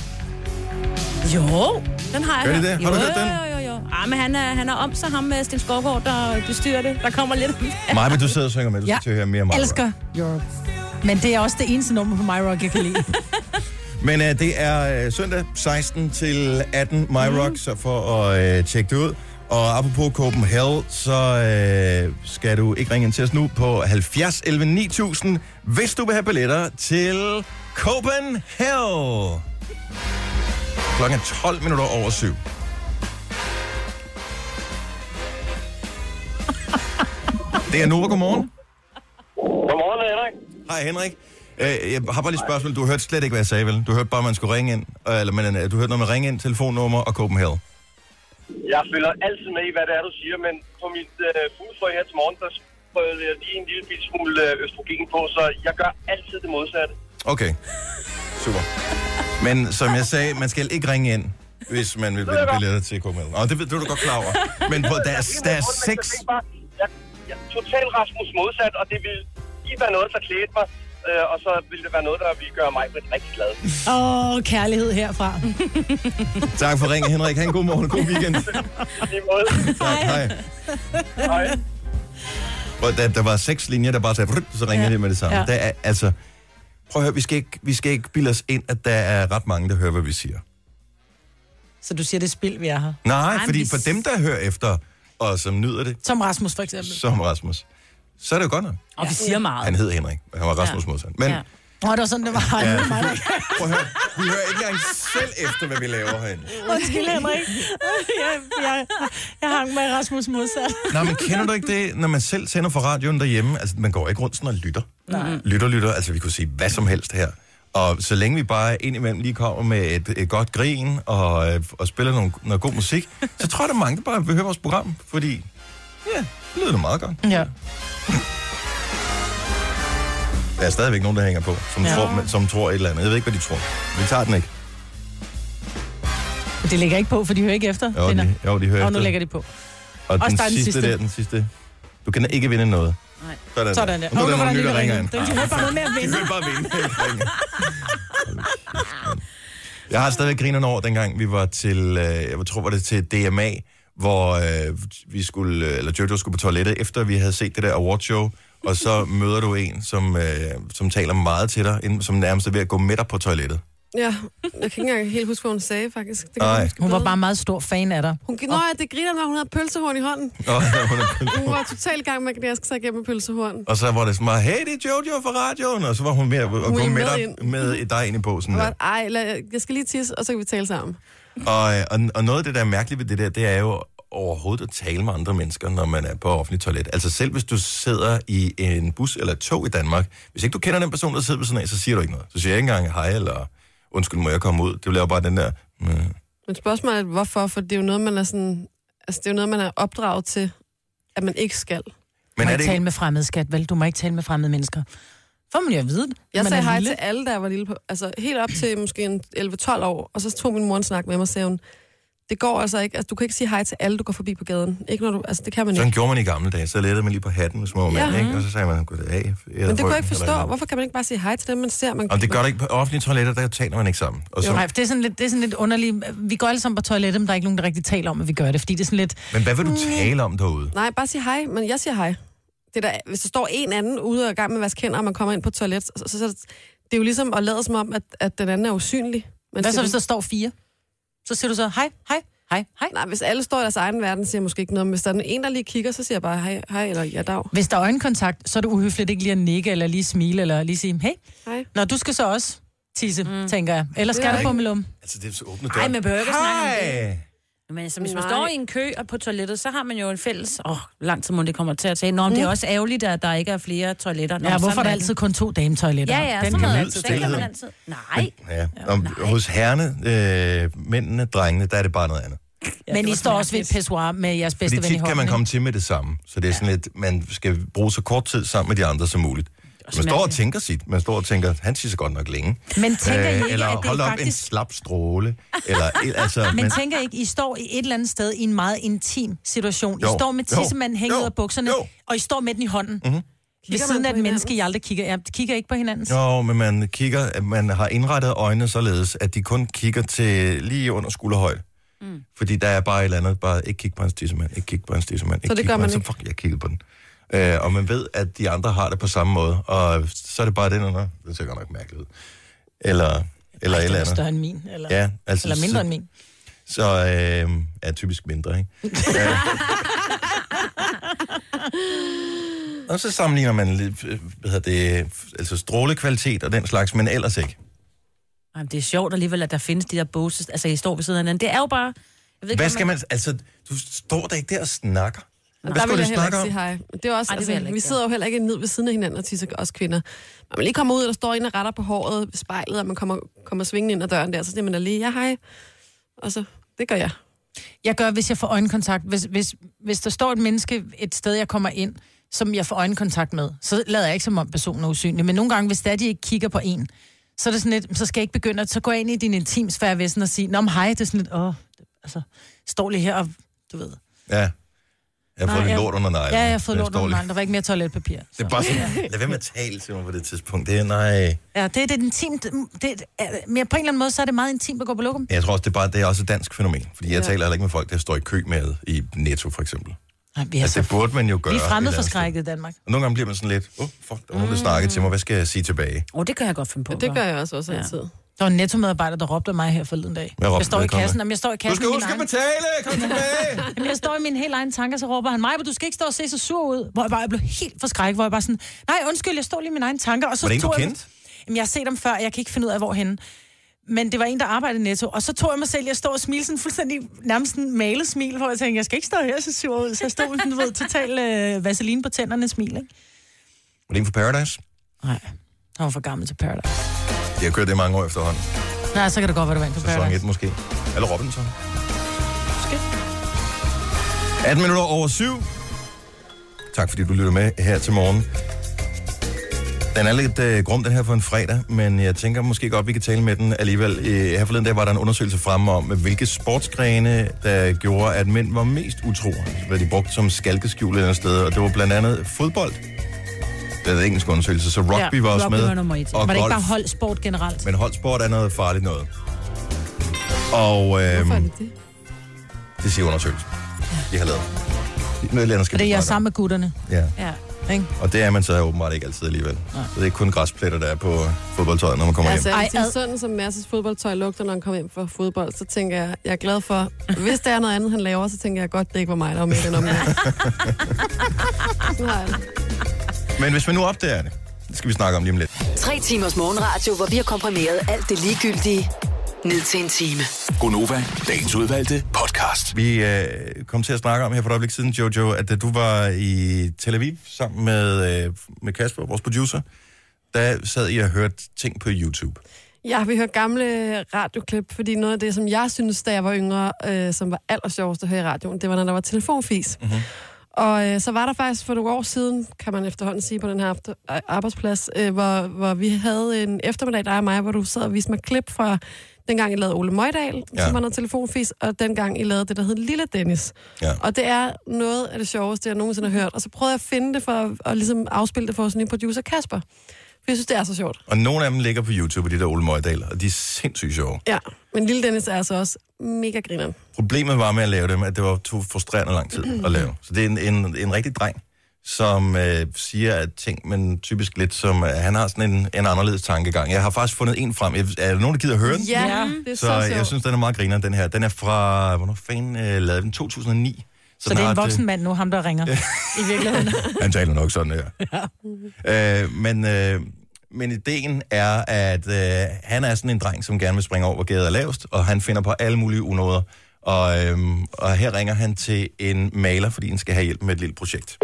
C: Jo, den har jeg
A: Gør de
C: hørt.
A: det? Har du
C: jo,
A: hørt den?
C: Jo, jo, jo. Ah, men han er, han er om sig, ham med Sten Skovgaard, der bestyrer det. Der kommer lidt...
A: Maja, vil du sidder og synger med. Du skal
D: Ja.
A: til at høre mere MyRock.
D: Elsker Europe. Men det er også det eneste nummer på My Rock, jeg kan *laughs* lide.
A: Men øh, det er øh, søndag 16 til 18 MyRock, mm. så for at øh, tjekke det ud. Og apropos Copenhagen, så øh, skal du ikke ringe ind til os nu på 70 11 9000, hvis du vil have billetter til Copenhagen. Klokken er 12 minutter over syv. Det er Nova, godmorgen.
L: Godmorgen, Henrik.
A: Hej Henrik. Øh, Jeg har bare lige et spørgsmål. Du hørte slet ikke, hvad jeg sagde, vel? Du hørte bare, at man skulle ringe ind. øh, Eller, men, øh, du hørte noget med ringe ind, telefonnummer og Copenhagen.
L: Jeg følger altid med i, hvad det er, du siger, men på mit øh, fuglefrø her til morgen, der sprøjtede jeg lige en lille bit smule øh, østrogen på, så jeg gør altid det modsatte.
A: Okay. Super. Men som jeg sagde, man skal ikke ringe ind, hvis man vil
L: Det ved jeg
A: vinde billetter til Copenhagen. Og det ved det er du godt klar over.
L: *laughs*
A: Men på, der, er, der er seks...
L: Jeg, bare, jeg, jeg er totalt Rasmus modsat, og det vil lige være noget, der klædte mig, øh, og så ville det være noget, der ville gøre mig rigtig glad.
D: Åh, oh, kærlighed herfra.
A: Tak for ringen, Henrik. Ha' en god morgen og god weekend. tak, hej.
L: Hej.
A: Hvor der, der var seks linjer, der bare sagde, "Vrrt", så ringede ja. det med det samme.
L: Ja.
A: Ja. Der er, altså, prøv at høre, vi skal, ikke, vi skal ikke bilde os ind, at der er ret mange, der hører, hvad vi siger.
D: Så du siger, det er spild, vi er her.
A: Nej,
D: men
A: fordi
D: vi-
A: for dem, der hører efter, og som nyder det,
D: Som Rasmus, for eksempel.
A: som Rasmus, så er det jo godt nok.
D: Og vi siger meget.
A: Han hed Henrik, men han var Rasmus ja. modsat. Men ja.
D: Nå, det var sådan, det var.
A: Ja.
D: *laughs* Ja.
A: prøv at høre, vi hører ikke engang selv efter, hvad vi laver herinde.
D: Undskyld, Henrik. Jeg, jeg, jeg hang med Rasmus modsat.
A: Nå, men kender du ikke det, når man selv tænder for radioen derhjemme? Altså, man går ikke rundt sådan og lytter.
D: Nej.
A: Lytter, lytter. Altså, vi kunne sige hvad som helst her. Og så længe vi bare indimellem lige kommer med et, et godt grin og, øh, og spiller nogle, noget god musik, så tror jeg, der er mange, der bare vil høre vores program, fordi ja, det lyder da meget godt.
D: Ja.
A: Der er stadigvæk nogen, der hænger på, som,
D: Ja.
A: ja. tror, men- som tror et eller andet. Jeg ved ikke, hvad de tror. Vi tager den ikke.
D: Det ligger ikke på, for de hører ikke efter.
A: Jo, de, jo, de hører
D: Og nu
A: efter.
D: lægger de på.
A: Og
D: Også
A: den
D: der er
A: sidste, sidste der, den sidste. Du kan ikke vinde noget.
D: Nej.
A: Sådan,
D: Sådan
A: der.
D: der.
A: Nu er
D: Åh,
A: der
D: nu var
A: nogen nye,
D: der lige
A: der ringer ind.
D: ringen. Den- de hører bare noget med at vinde.
A: *laughs* De hører bare vinde. ikke ringe. Jeg har stadigvæk grinet over, dengang vi var til, øh, jeg tror, var det til DMA, hvor øh, vi skulle, øh, eller Jojo skulle på toilettet, efter vi havde set det der awardshow, og
B: *laughs*
A: så møder du en, som, øh, som taler meget til dig, inden, som nærmest er ved at gå med dig på toilettet.
B: Ja, jeg kan ikke engang helt huske, hvad hun sagde, faktisk. Det kan
A: Ej.
B: jeg
A: *laughs*
B: huske
D: Hun var
B: bedre.
D: bare meget stor fan af dig.
B: Hun, nå ja, det griner, når hun havde pølsehorn i
A: *laughs*
B: hånden.
A: Nå, hun er-
B: Hun var totalt i gang med at gnaske sig igennem pølsehorn.
A: og så var det sådan meget, hey, det er Jojo fra radioen, og så var hun med at gå
B: gik
A: med,
B: med
A: dig, med dig ind i posen.
B: Og
A: Der.
B: var, Ej, lad, jeg skal lige tisse, og så kan vi tale sammen.
A: Og, øh, og, og noget af det, der er mærkeligt ved det der, det er jo overhovedet at tale med andre mennesker, når man er på offentlig toilet. Altså selv hvis du sidder i en bus eller et tog i Danmark, hvis ikke du kender den person, der sidder ved siden af, så siger du ikke noget. Så siger jeg ikke engang hej, eller undskyld, må jeg komme ud? Det bliver jo bare den der... Mm.
B: Men spørgsmålet er, hvorfor? For det er jo noget, man er, sådan, altså, det er, jo noget, man er opdraget til, at man ikke skal.
D: Du
A: Men
D: må
A: er
D: ikke
A: det
D: tale med fremmede, skat, vel? Du må ikke tale med fremmede mennesker. Får man jo at vide.
B: Jeg sagde hej til alle, der var lille på. Altså helt op til måske en 11-12 år, og så tog min mor en snak med mig og sagde hun, det går altså ikke, altså du kan ikke sige hej til alle, du går forbi på gaden. Ikke når du, altså det kan man
A: Sådan
B: ikke.
A: gjorde man i gamle dage. Så lettede man lige på hatten, hvis man var mand,
B: Ja.
A: ikke? Og så sagde man, goddag.
B: Men det kunne jeg ikke forstå. Hvorfor kan man ikke bare sige hej til dem, man ser? Man,
A: Om det gør det ikke på offentlige toiletter, der taler man ikke sammen. Og så,
D: Jo, nej, for det er, sådan lidt, det er sådan lidt underligt. Vi går alle sammen på toilettet, men der er ikke nogen, der rigtig taler om, at vi gør det, fordi det er sådan lidt...
A: men hvad vil
B: Mm.
A: du tale om derude?
B: Nej, bare sig hej, men jeg siger hej. Det er der, hvis der står en anden ude og er i gang med at vaske hænder, og man kommer ind på toilet, så, så, så det er jo ligesom at lade som om, at, at den anden er usynlig. Man
D: Hvad
B: siger
D: så, hvis der står fire? Så siger du så, hej, hej, hej, hej.
B: Nej, hvis alle står i deres egen verden, siger jeg måske ikke noget. Men hvis der er en, der lige kigger, så siger jeg bare hej, hej eller ja, dag.
D: Hvis der er øjenkontakt, så er det uhøfligt ikke lige at nikke, eller lige smile, eller lige sige, hey.
B: Hej.
D: Nå, du skal så også tisse, mm. tænker jeg. Eller
C: Det er
D: skal du
C: ikke-
D: på med lum?
A: Altså, det er så åbne
C: Ej, man behøver ikke at snakke om det.
A: Hej!
C: Men som Altså, hvis man
D: Nej.
C: står i en kø og på toilettet, så har man jo en fælles... Åh, oh, lang tid må det kommer til at tage. Nå, men det er
D: Mm.
C: også ærgerligt, at der ikke er flere toiletter. Nå,
D: Ja,
C: men
D: hvorfor er
C: sådan
D: der altid
C: det.
D: kun to dametoiletter?
C: Ja, ja,
D: Den
C: sådan
D: kan
C: noget.
A: nyde
C: altid. Den kan man
A: stilheden.
C: altid. Nej.
A: Ja. Om, hos herrene, øh, mændene, drengene, der er det bare noget andet.
D: Men I står også ved et pissoir med jeres bedste
A: Fordi
D: ven i
A: tit
D: hånden.
A: kan man
D: ikke?
A: komme til med det samme. Så det er sådan lidt, man skal bruge så kort tid sammen med de andre som muligt. Man står og
D: mærkeligt.
A: tænker sit. Man står og tænker, han tisser godt nok længe. Øh,
D: Men tænker I ikke,
A: eller
D: at det
A: hold op en
D: faktisk-
A: slap stråle. Eller, altså,
D: *laughs* Men, tænker I ikke, I står i et eller andet sted i en meget intim situation.
A: Jo,
D: I står med
A: jo,
D: tissemanden hængt
A: jo,
D: ud af bukserne, og I står med den i hånden.
A: Mhm.
D: Ved
B: man
D: siden af
B: på
D: et menneske, I aldrig kigger. Ja, kigger I ikke på hinanden.
A: Jo, men man kigger, at man har indrettet øjnene således, at de kun kigger til lige under skulderhøjde. Mm. Fordi der er bare et eller andet, bare ikke kig på hans tissemand, ikke kig på hans tissemand, ikke
B: det
A: kig
B: gør
A: på
B: man
A: hans,
B: ikke.
A: fuck, jeg kiggede på den. Øh, og man ved, at de andre har det på samme måde, og så er det bare den under, det ser godt nok mærkeligt ud. Eller, eller et
D: Den
A: eller
D: er
A: andet.
D: større end min, eller,
A: Ja, altså,
D: eller mindre
A: så-
D: end min.
A: Så øh, er typisk mindre, ikke? øh. Og så sammenligner man lidt, øh, hvad hedder det, øh, altså strålekvalitet og den slags, men ellers ikke.
C: Ej, men det er sjovt alligevel, at der findes de der boses. Altså, I står ved siden af hinanden. Det er jo bare... Jeg ved
A: Hvad
C: om
A: skal man... Altså, du står der ikke der og snakker.
B: Og
A: Hvad
B: der
A: skal
B: vil
A: du
B: jeg heller
A: snakke
B: ikke
A: om?
B: sige hej. Det er også,
C: Ej, det vil
B: altså,
C: jeg heller ikke
B: vi
C: gøre.
B: sidder jo heller ikke ned ved siden af hinanden og tisser os kvinder. Når man lige kommer ud, og der står en og retter på håret ved spejlet, og man kommer, kommer svingende ind ad døren der, så siger man da lige, ja hej. Og så, det gør jeg.
D: Jeg gør, hvis jeg får øjenkontakt. Hvis, hvis, hvis der står et menneske et sted, jeg kommer ind, som jeg får øjenkontakt med, så lader jeg ikke som om personen er usynlig. Men nogle gange, hvis det er, de ikke kigger på en, så er det sådan lidt, så skal jeg ikke begynde at, så går jeg ind i din intimsfære ved sådan og sige, nå men hej, det er sådan lidt, åh, altså, står lige her og, du ved.
A: Ja. Jeg har fået
D: Nej,
A: lidt lort under neglen.
D: Ja, jeg har fået
A: Det er
D: lort under
A: dårligt.
D: neglen. Der var ikke mere toiletpapir.
A: Det er bare
D: *laughs*
A: sådan, lad være med at tale til mig på det tidspunkt. Det er, nej.
D: Ja, det, det er intimt. Det, er, men på en eller anden måde, så er det meget intimt at gå på lokum.
A: Men Jeg tror også, det er, bare, det er også et dansk fænomen. Fordi jeg
D: Ja.
A: taler heller ikke med folk, der står i kø med i Netto, for eksempel.
D: Nej, vi, er
A: altså, det
D: så,
A: burde man jo gøre.
D: vi er
A: et eller andet sted.
D: fremmedforskrækket i Danmark.
A: Og nogle gange bliver man sådan lidt, åh, oh, fuck, der var nogen, der snakkede til mig. Hvad skal jeg sige tilbage?
C: Åh, oh, det kan jeg godt finde på.
B: Det gør jeg også, også ja. altid.
D: Der var en netto-medarbejder, der råbte af mig her forleden dag.
A: Hvad råbte
D: jeg står i
A: vedkommende?
D: kassen, om jeg står i kassen.
A: skal
D: i min
A: huske at betale! Kom
D: egen-
C: *laughs*
A: tilbage!
D: Jamen, jeg står *laughs* i min helt egen tanker, så råber han, mig, men du skal ikke stå og se så sur ud. Hvor jeg bare jeg blev helt forskrækket, hvor jeg bare sådan, nej, undskyld, jeg står lige i mine egne tanker. *laughs* Og så
A: Var det en, du
D: tog jeg-
A: kendte?
D: Jamen, jeg har set dem før, jeg kan ikke finde ud af, hvorhen. Men det var en, der arbejdede i netto, og så tog jeg mig selv, jeg står og smilte sådan fuldstændig nærmest en malet smil, hvor jeg tænkte, jeg skal ikke stå her så sur ud. Så jeg stod med sådan, du ved, total øh, vaseline på tænderne smil, ikke?
A: Var det en for Paradise?
D: Nej, han var for gammel til Paradise.
A: Jeg har kørt det i mange år efterhånden.
D: Nej, så kan det godt være, du vandt på
A: Sæson
D: Paradise.
A: 1 måske. Eller Robinson. Måske. 18 minutter over 7. Tak fordi du lytter med her til morgen. Den er lidt øh, grum, den her for en fredag, men jeg tænker måske godt, vi kan tale med den alligevel. Øh, her forleden dag var der en undersøgelse fremme om, hvilke sportsgrene, der gjorde, at mænd var mest utro. Hvad de brugte som skalkeskjul et eller andet sted, og det var blandt andet fodbold. Det er en engelsk undersøgelse, så rugby ja, var også med.
C: Var, nummer et.
A: og
D: Var det ikke
A: golf. Øhm,
D: bare holdsport generelt?
A: Men holdsport er noget farligt noget. Og øhm,
B: det?
A: det siger undersøgelsen. De har lavet. Noget eller andet skal
D: Fordi
A: vi
D: jeg er
A: snakke om.
D: sammen med gutterne.
A: Ja.
D: Ja. Ikke?
A: Og det er man så åbenbart ikke altid alligevel. Ja. Så det er ikke kun græspletter, der er på fodboldtøjet, når man kommer
B: altså,
A: hjem.
B: Altså, Ej, sådan som Masses fodboldtøj lugter, når han kommer hjem fra fodbold, så tænker jeg, jeg er glad for, hvis der er noget andet, han laver, så tænker jeg godt, det ikke var mig, der var med i den omgang. Nej.
A: Men hvis man nu opdager det, det skal vi snakke om lige om lidt.
E: Tre timers morgenradio, hvor vi har komprimeret alt det ligegyldige ned til en time.
A: Gonova, dagens udvalgte podcast. Vi øh, kom til at snakke om her for et øjeblik siden, Jojo, at da du var i Tel Aviv sammen med, øh, med Kasper, vores producer, der sad I og hørte ting på YouTube.
B: Ja, vi hører gamle radioklip, fordi noget af det, som jeg synes, da jeg var yngre, øh, som var allersjovest at høre i radioen, det var, når der var telefonfis.
A: Mhm.
B: Mm-hmm. Og øh, så var der faktisk for nogle år siden, kan man efterhånden sige på den her after, øh, arbejdsplads, øh, hvor, hvor vi havde en eftermiddag, dig og mig, hvor du sad og viste mig klip fra dengang, I lavede Ole Møjdal, ja.
A: Ja.
B: som var noget telefonfis, og dengang, I lavede det, der hed Lille Dennis.
A: Ja.
B: Og det er noget af det sjoveste, jeg nogensinde har hørt. Og så prøvede jeg at finde det for at, at ligesom afspille det for vores nye producer, Kasper. For jeg synes, det er så sjovt.
A: Og nogle af dem ligger på YouTube, de der Ole Møjdal, og de er sindssygt sjove.
B: Ja, men Lille Dennis er altså også mega grineren.
A: Problemet var med at lave dem, at det var to frustrerende lang tid at lave. Så det er en, en, en rigtig dreng, som øh, siger at ting, men typisk lidt som, øh, han har sådan en, en anderledes tankegang. Jeg har faktisk fundet en frem. Jeg, er der nogen, der gider høre den?
B: Ja, Ja. det er så
A: så jeg
B: sjovt.
A: synes, den er meget griner, den her. Den er fra, hvornår fanden øh, lavede den? 2009.
D: Så det er en
A: den har et,
D: voksen mand nu, ham der ringer. I
A: *laughs*
D: virkeligheden.
A: øh, Han taler nok sådan her. Øh, men, øh, men ideen er, at øh, han er sådan en dreng, som gerne vil springe over, hvor gaden er lavest, og han finder på alle mulige unåder. Og, øh, og her ringer han til en maler, fordi han skal have hjælp med et lille projekt.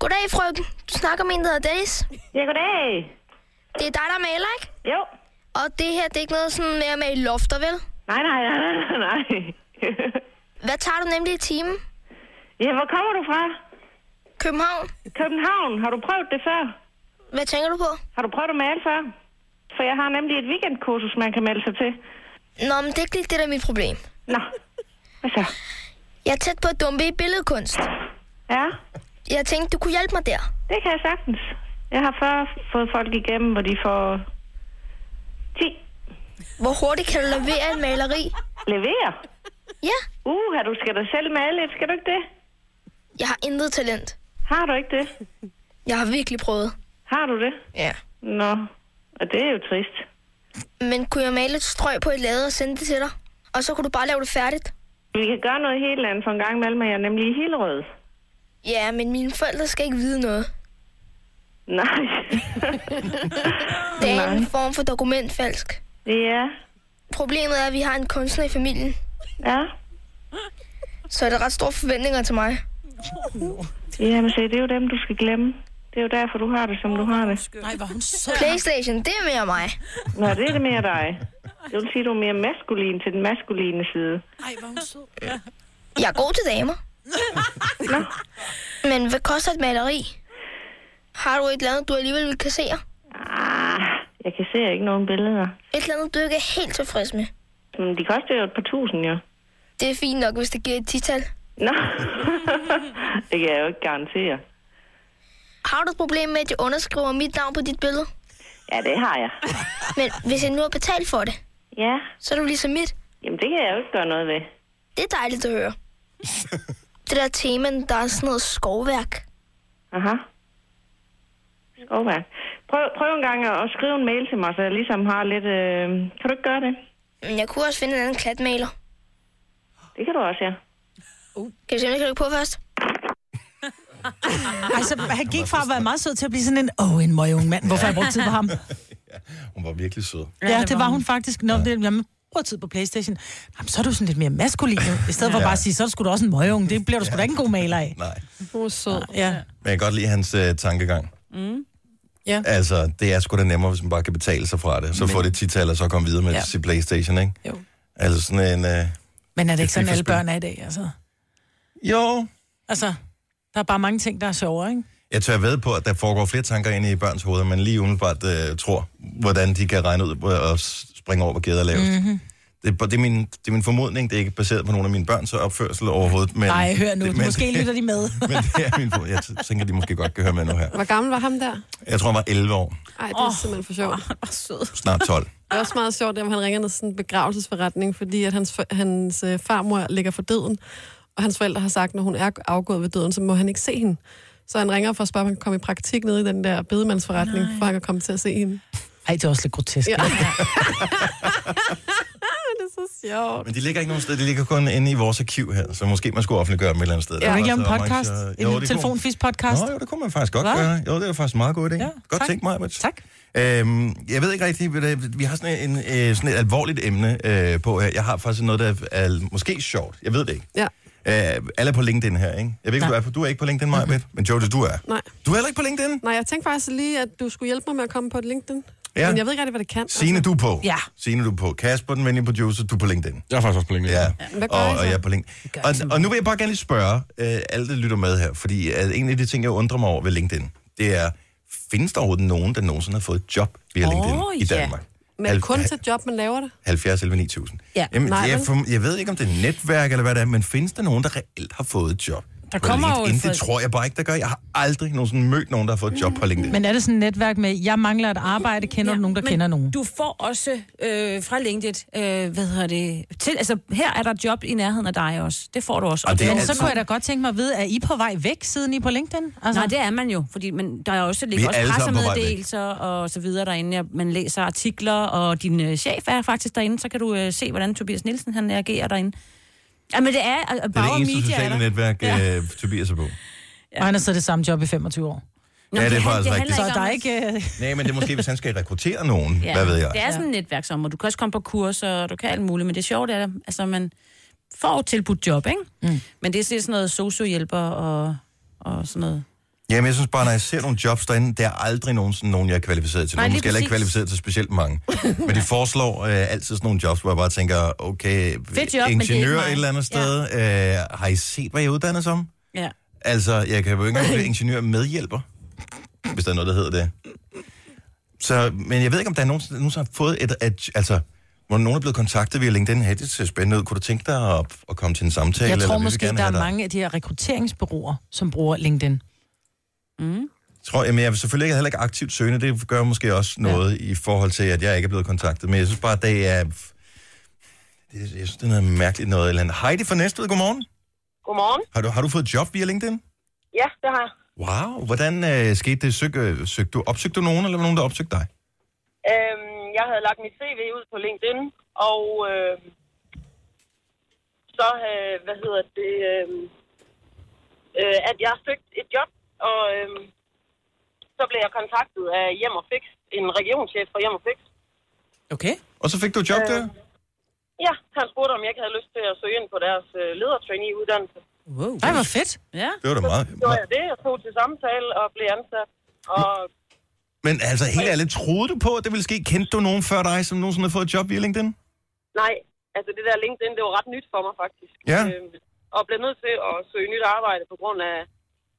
K: Goddag, frøken. Du snakker med en, der hedder Dennis. Ja, goddag. Det er dig, der maler, ikke? Jo. Og det her, det er ikke noget sådan med at male lofter, vel? Nej, nej, nej, nej, nej. *laughs* Hvad tager du nemlig i timen? Ja, hvor kommer du fra? København. København? Har du prøvet det før? Hvad tænker du på? Har du prøvet at male før? For jeg har nemlig et weekendkursus, man kan melde sig til. Nå, men det er ikke lige det, der er mit problem. Nå, hvad så? Jeg er tæt på at dumpe i billedkunst. Ja? Jeg tænkte, du kunne hjælpe mig der.
J: Det kan jeg sagtens. Jeg har før fået folk igennem, hvor de får... 10.
K: Hvor hurtigt kan du levere et maleri?
J: Levere?
K: Ja.
J: Uh, har du skal da selv male lidt, skal du ikke det?
K: Jeg har intet talent.
J: Har du ikke det?
K: Jeg har virkelig prøvet.
J: Har du det?
K: Ja.
J: Nå, og det er jo trist.
K: Men kunne jeg male et strøg på et lade og sende det til dig? Og så kunne du bare lave det færdigt?
J: Vi kan gøre noget helt andet for en gang imellem, og jeg er nemlig i Hillerød.
K: Ja, men mine forældre skal ikke vide noget.
J: *laughs* Nej.
K: Det er en form for dokumentfalsk.
J: Ja.
K: Problemet er, at vi har en kunstner i familien. Ja. Så er der ret store forventninger til mig.
J: Jamen se, det er jo dem, du skal glemme. Det er jo derfor, du har det, som du har det.
D: Nej, hvor hun så...
K: Playstation, det er mere mig.
J: Nå, det er det mere dig. Det vil sige, du er mere maskulin til den maskuline side.
D: Ej, hvor hun så...
K: Jeg er god til damer. Nå. Men hvad koster et maleri? Har du et eller andet, du alligevel vil kassere?
J: Jeg kan se ikke nogen billeder.
K: Et eller andet, du ikke er helt tilfreds med?
J: Men Mm, de koster jo et par tusind, jo.
K: Det er fint nok, hvis det giver et tital.
J: Nå. *laughs* det kan jeg jo ikke garantere.
K: Har du et problem med, at jeg underskriver mit navn på dit billede?
J: Ja, det har jeg.
K: *laughs* Men hvis jeg nu har betalt for det,
J: Ja.
K: så er du ligesom mit.
J: Jamen, det kan jeg jo ikke gøre noget ved.
K: Det er dejligt at
J: *laughs*
K: høre. det der tema, der er sådan noget skovværk.
J: Aha. Skovværk. Prøv, prøv en gang at at skrive en mail til mig, så jeg ligesom har lidt... Øh... Kan du ikke gøre det?
K: Men jeg kunne også finde en anden klatmaler.
J: Det kan du også, ja.
K: Kan du se, om jeg kan lykke på først?
D: Altså, han gik fra at være meget sød til at blive sådan en, åh, oh, en møg ung mand, hvorfor har jeg brugt tid på ham?
A: Hun var virkelig sød.
D: Ja, det var hun faktisk. Nå, det, jamen, bruger tid på Playstation. Jamen, så er du sådan lidt mere maskulin, jo. i stedet for
A: Ja.
D: bare at sige, så er du sgu da også en møgeunge. Det bliver du sgu da ikke en god maler af.
A: Nej.
B: Hun er sød.
D: Ja.
A: Men jeg kan godt lide hans øh, tankegang.
B: Mm. Ja.
A: Altså, det er sgu da nemmere, hvis man bare kan betale sig fra det. Så får det tital, og så komme videre med
D: Ja.
A: ja. sit Playstation, ikke?
D: Jo.
A: Altså sådan en... Øh,
D: Men er det
A: et
D: ikke sådan, alle
A: FIFA-spil.
D: børn er i dag, altså?
A: Jo.
D: Altså, der er bare mange ting, der er sjovere, ikke?
A: Jeg tør ved på, at der foregår flere tanker inde i børns hoveder, men lige umiddelbart øh, tror, hvordan de kan regne ud hvor- og s- springe over, hvor gæder er lavest. Mm.
D: Mm-hmm.
A: Det, det, er min, det er min formodning, det er ikke baseret på nogen af mine børns opførsel overhovedet. Men,
D: Nej, hør nu,
A: det,
D: måske
A: *laughs*
D: lytter de med.
A: Men det er min, for- jeg t- tænker, de måske godt kan høre med nu her.
B: Hvor gammel var ham der?
A: Jeg tror, han var 11 år,
B: Ej, det er oh. simpelthen for sjovt. Han var sød.
A: snart 12.
B: Det er også meget sjovt, at han ringer ned til sådan en begravelsesforretning, fordi at hans, for- hans øh, farmor ligger for døden. og hans forældre har sagt, når hun er afgået ved døden, så må han ikke se hende. Så han ringer for at spørge, om han kan komme i praktik nede i den der bedemandsforretning, for han kan komme til at se hende.
D: Ej, det er også lidt grotesk.
B: Ja.
D: Ja.
B: det er så sjovt.
A: Men de ligger ikke nogen sted, de ligger kun inde i vores arkiv her, så måske man skulle offentliggøre dem et eller andet sted. Der
D: Kan du
A: var
D: ikke lave en
A: så
D: podcast?
A: arrangør- Jo, det
D: En
A: kunne-
D: telefonfis-podcast?
A: Nå, jo, det kunne man faktisk godt
D: Hva?
A: Hva? gøre. Jo, det er faktisk en meget god idé. Ja, godt
D: tak.
A: tænkt mig, Mads.
D: Tak.
A: Øhm, jeg ved ikke rigtigt, hvad det- vi har sådan, en, øh, sådan et alvorligt emne øh, på her. Jeg har faktisk noget, der er, er måske sjovt. Jeg ved det ikke.
B: Ja.
A: Øh, alle er på LinkedIn her, ikke? Jeg ved ikke, om du er på. Du er ikke på LinkedIn, Maja, men Jojo, du er.
B: Nej.
A: Du er heller ikke på LinkedIn?
B: Nej, jeg tænkte faktisk lige, at du skulle hjælpe mig med at komme på et LinkedIn.
A: Ja.
B: Men jeg ved ikke rigtig, hvad det kan. altså.
A: Signe, du er på.
B: Ja.
A: Signe, du er på. Kasper, den venlige producer, du er på LinkedIn.
M: Jeg er faktisk også på LinkedIn.
A: Ja,
B: Hvad gør
A: og,
B: I så?
A: og jeg er på LinkedIn. Og, og nu vil jeg bare gerne lige spørge øh, alle, der lytter med her, fordi øh, en af de ting, jeg undrer mig over ved LinkedIn, det er, findes der overhovedet nogen, der nogensinde har fået et job via
B: Åh,
A: LinkedIn i
B: ja.
A: Danmark?
B: Men
A: Halv-
B: kun til job, man laver det.
A: 70 eller 9000.
B: Ja.
A: Jamen,
B: Nej,
A: Nej, jeg,
B: vel?
A: for, jeg ved ikke, om det er netværk eller hvad det er, men findes der nogen, der reelt har fået et job?
D: Der
A: på
D: kommer jo
A: LinkedIn?
D: et-
A: Det tror jeg bare ikke, der gør. Jeg har aldrig nogensinde mødt nogen, der har fået et job på LinkedIn.
D: Men er det sådan et netværk med, jeg mangler et arbejde, kender ja, du nogen, der
C: men
D: kender nogen?
C: Du får også øh, fra LinkedIn, øh, hvad hedder det, til, altså her er der job i nærheden af dig også. Det får du også.
D: Men så kunne jeg da godt tænke mig at vide, er I på vej væk, siden I er på LinkedIn?
C: Altså. Nej, det er man jo, fordi men der er også,
D: Vi
C: ligger
D: er
C: også
D: alle sammen på vej væk.
C: pressemeddelelser og så videre derinde. og Man læser artikler, og din øh, chef er faktisk derinde, så kan du øh, se, hvordan Tobias Nielsen han agerer derinde. Ja, men det er... Og, og
A: Det er det eneste
C: Media
A: sociale
C: der.
A: netværk,
C: Ja.
A: ja. øh, Tobias er på.
D: Ja. Og han har siddet i det samme job i 25 år.
A: Ja, det er faktisk
C: handler
A: rigtigt.
C: ikke om
D: Så der er
C: at-
D: ikke... øh,
A: Nej, men det er måske, hvis han skal rekruttere nogen. Ja. Hvad ved jeg?
C: Det er sådan et netværksommer. Du kan også komme på kurser, og du kan alt muligt, men det er sjovt, at altså, man får tilbudt job, ikke? Mm. Men det er sådan noget sociohjælper og, og sådan noget.
A: Jamen, jeg synes bare, når jeg ser nogle jobs derinde, der er aldrig nogensinde nogen, jeg er kvalificeret til.
C: Nej,
A: Nej,
C: lige
A: måske heller ikke
C: præcis.
A: kvalificeret til specielt mange. Men de foreslår øh, altid sådan nogle jobs, hvor jeg bare tænker, okay,
C: Fedt job, men det er ikke
A: ingeniør
C: mig.
A: et eller andet sted. Ja. Øh, har I set, hvad jeg er uddannet som?
C: Ja.
A: Altså, jeg kan jo ikke
C: *laughs*
A: engang blive ingeniør medhjælper, hvis der er noget, der hedder det. Så, men jeg ved ikke, om der er nogen, nogen som har fået et, et altså, hvor nogen er blevet kontaktet via LinkedIn. Hey, det ser spændende ud. Kunne du tænke dig at, at komme til en samtale?
D: Jeg
A: eller
D: tror
A: vi vil
D: måske,
A: gerne
D: der er
A: have dig?
D: mange af de her rekrutteringsbureauer, som bruger LinkedIn. Mm.
A: tror, jamen jeg er selvfølgelig ikke, heller ikke aktivt søgende. Det gør måske også noget ja. i forhold til, at jeg ikke er blevet kontaktet. Men jeg synes bare, at det er... Det, jeg synes, det er noget mærkeligt noget. Eller andet. Heidi fra Næstved, godmorgen.
N: Godmorgen.
A: Har du, har du fået job via LinkedIn?
N: Ja, det har jeg.
A: Wow, hvordan øh, skete det? Søg, øh, søg, du, opsøgte du nogen, eller var der nogen, der opsøgte dig?
N: Øhm, jeg havde lagt mit CV ud på LinkedIn, og øh, så, øh, hvad hedder det, øh, øh, at jeg søgte et job, og øh, så blev jeg kontaktet af Hjem og Fix, en regionschef fra Hjem og Fix.
D: Okay.
A: Og så fik du et job øh. der?
N: Ja, han spurgte, om jeg ikke havde lyst til at søge ind på deres øh, ledertrainee-uddannelse.
D: Wow. Ej, hvor fedt.
C: Ja.
A: Det var da meget.
N: Så gjorde jeg det, og tog til samtale og blev ansat. Og
A: Men altså, helt ærligt, troede du på, at det ville ske? Kendte du nogen før dig, som nogensinde havde fået et job via LinkedIn?
N: nej, altså det der LinkedIn, det var ret nyt for mig faktisk.
A: Ja.
N: Øhm, og blev nødt til at søge nyt arbejde på grund af,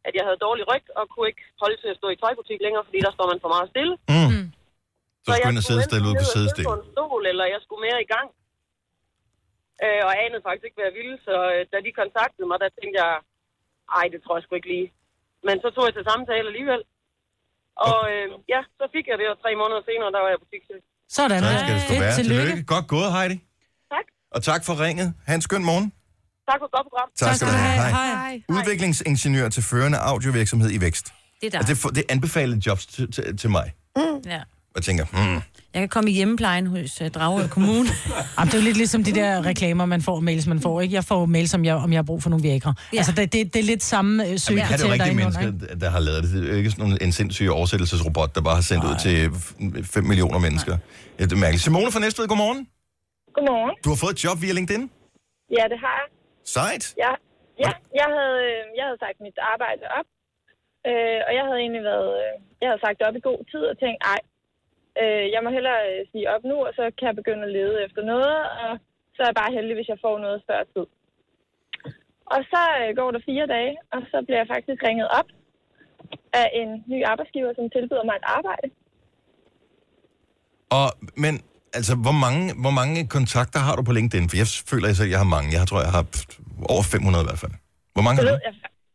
N: at jeg havde dårlig ryg og kunne ikke holde til at stå i tøjbutik længere, fordi der står man for meget stille.
A: Mm. Mm. Så
N: jeg
A: skulle ind og sidde
N: enten
A: stille ud på
N: ned og sidde
A: sædestil.
N: på en stol, eller jeg skulle mere i gang. Øh, og anede faktisk ikke, hvad jeg ville, så øh, da de kontaktede mig, der tænkte jeg, ej, det tror jeg sgu ikke lige. Men så tog jeg til samtale alligevel. Og øh, ja, så fik jeg det, og tre måneder senere, der var jeg butikschef.
D: Sådan.
A: Sådan skal det sgu
N: Ej,
A: være.
N: tillykke.
A: Tillykke. Godt gået, Heidi.
N: Tak.
A: Og tak for ringet. Ha' en skøn morgen.
N: Tak for et godt program.
A: Tak skal du have. Hej.
N: Hej.
A: Udviklingsingeniør til førende audiovirksomhed i vækst.
C: Det er dig.
A: Og det, for- det anbefalede jobs til, til, til mig.
C: Mm. Ja.
A: Og jeg tænker, hmm,
C: Jeg kan komme i hjemmeplejen hos uh, Dragør Kommune.
D: *laughs* Jamen, det er jo lidt ligesom de der reklamer, man får, mails man får. Ikke? Jeg får mails, om jeg, om jeg har brug for nogle virkere. Ja. Altså, det, det, det er lidt samme øh,
A: jamen,
D: søgekriterie,
A: er det jo rigtige
D: inde
A: mennesker,
D: under, ikke?
A: der har lavet det. Det er jo ikke sådan en sindssyg oversættelsesrobot, der bare har sendt Nej. ud til 5 millioner mennesker. Ja, det er mærkeligt. Simone fra Næstved, godmorgen.
N: Godmorgen.
A: Du har fået et job via LinkedIn.
N: Ja, det har jeg.
A: Sejt.
N: Jeg, ja, jeg havde, øh, jeg havde sagt mit arbejde op, øh, og jeg havde egentlig været, øh, jeg havde sagt det op i god tid og tænkt, ej, øh, jeg må hellere øh, sige op nu, og så kan jeg begynde at lede efter noget, og så er jeg bare heldig, hvis jeg får noget før tid. Og så øh, går der fire dage, og så bliver jeg faktisk ringet op af en ny arbejdsgiver, som tilbyder mig et arbejde.
A: Og, men altså, hvor mange, hvor mange kontakter har du på LinkedIn? For jeg føler selv, at jeg har mange. Jeg tror, jeg har pff, over 500 i hvert fald. Hvor mange
N: Det
A: har du?
N: ved, jeg,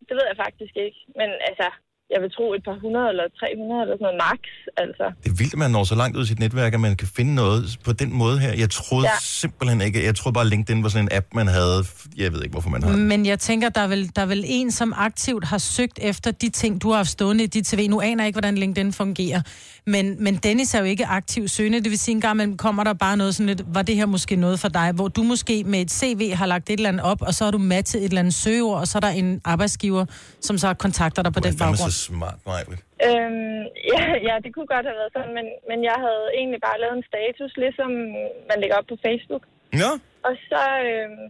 N: det ved jeg faktisk ikke. Men altså, jeg vil tro, et par hundrede eller 300 eller sådan noget max, altså.
A: Det er vildt, at man når så langt ud i sit netværk, at man kan finde noget på den måde her. Jeg troede
N: Ja.
A: ja. simpelthen ikke, jeg troede bare, LinkedIn var sådan en app, man havde. Jeg ved ikke, hvorfor man har
N: Mm.
A: den.
D: Men jeg tænker, der er, vel, der er vel en, som aktivt har søgt efter de ting, du har haft stående i dit tv. Nu aner jeg ikke, hvordan LinkedIn fungerer. Men, men Dennis er jo ikke aktiv søgende. Det vil sige, en gang imellem kommer der bare noget sådan lidt, var det her måske noget for dig? Hvor du måske med et CV har lagt et eller andet op, og så har du matchet et eller andet søgeord, og så er der en arbejdsgiver, som så kontakter dig på den
A: Fandme så
D: baggrund.
A: smart, Majbrit.
N: Øhm, *laughs* ja, ja, det kunne godt have været sådan, men, men jeg havde egentlig bare lavet en status, ligesom man lægger op på Facebook.
A: Ja.
N: Og så, øhm,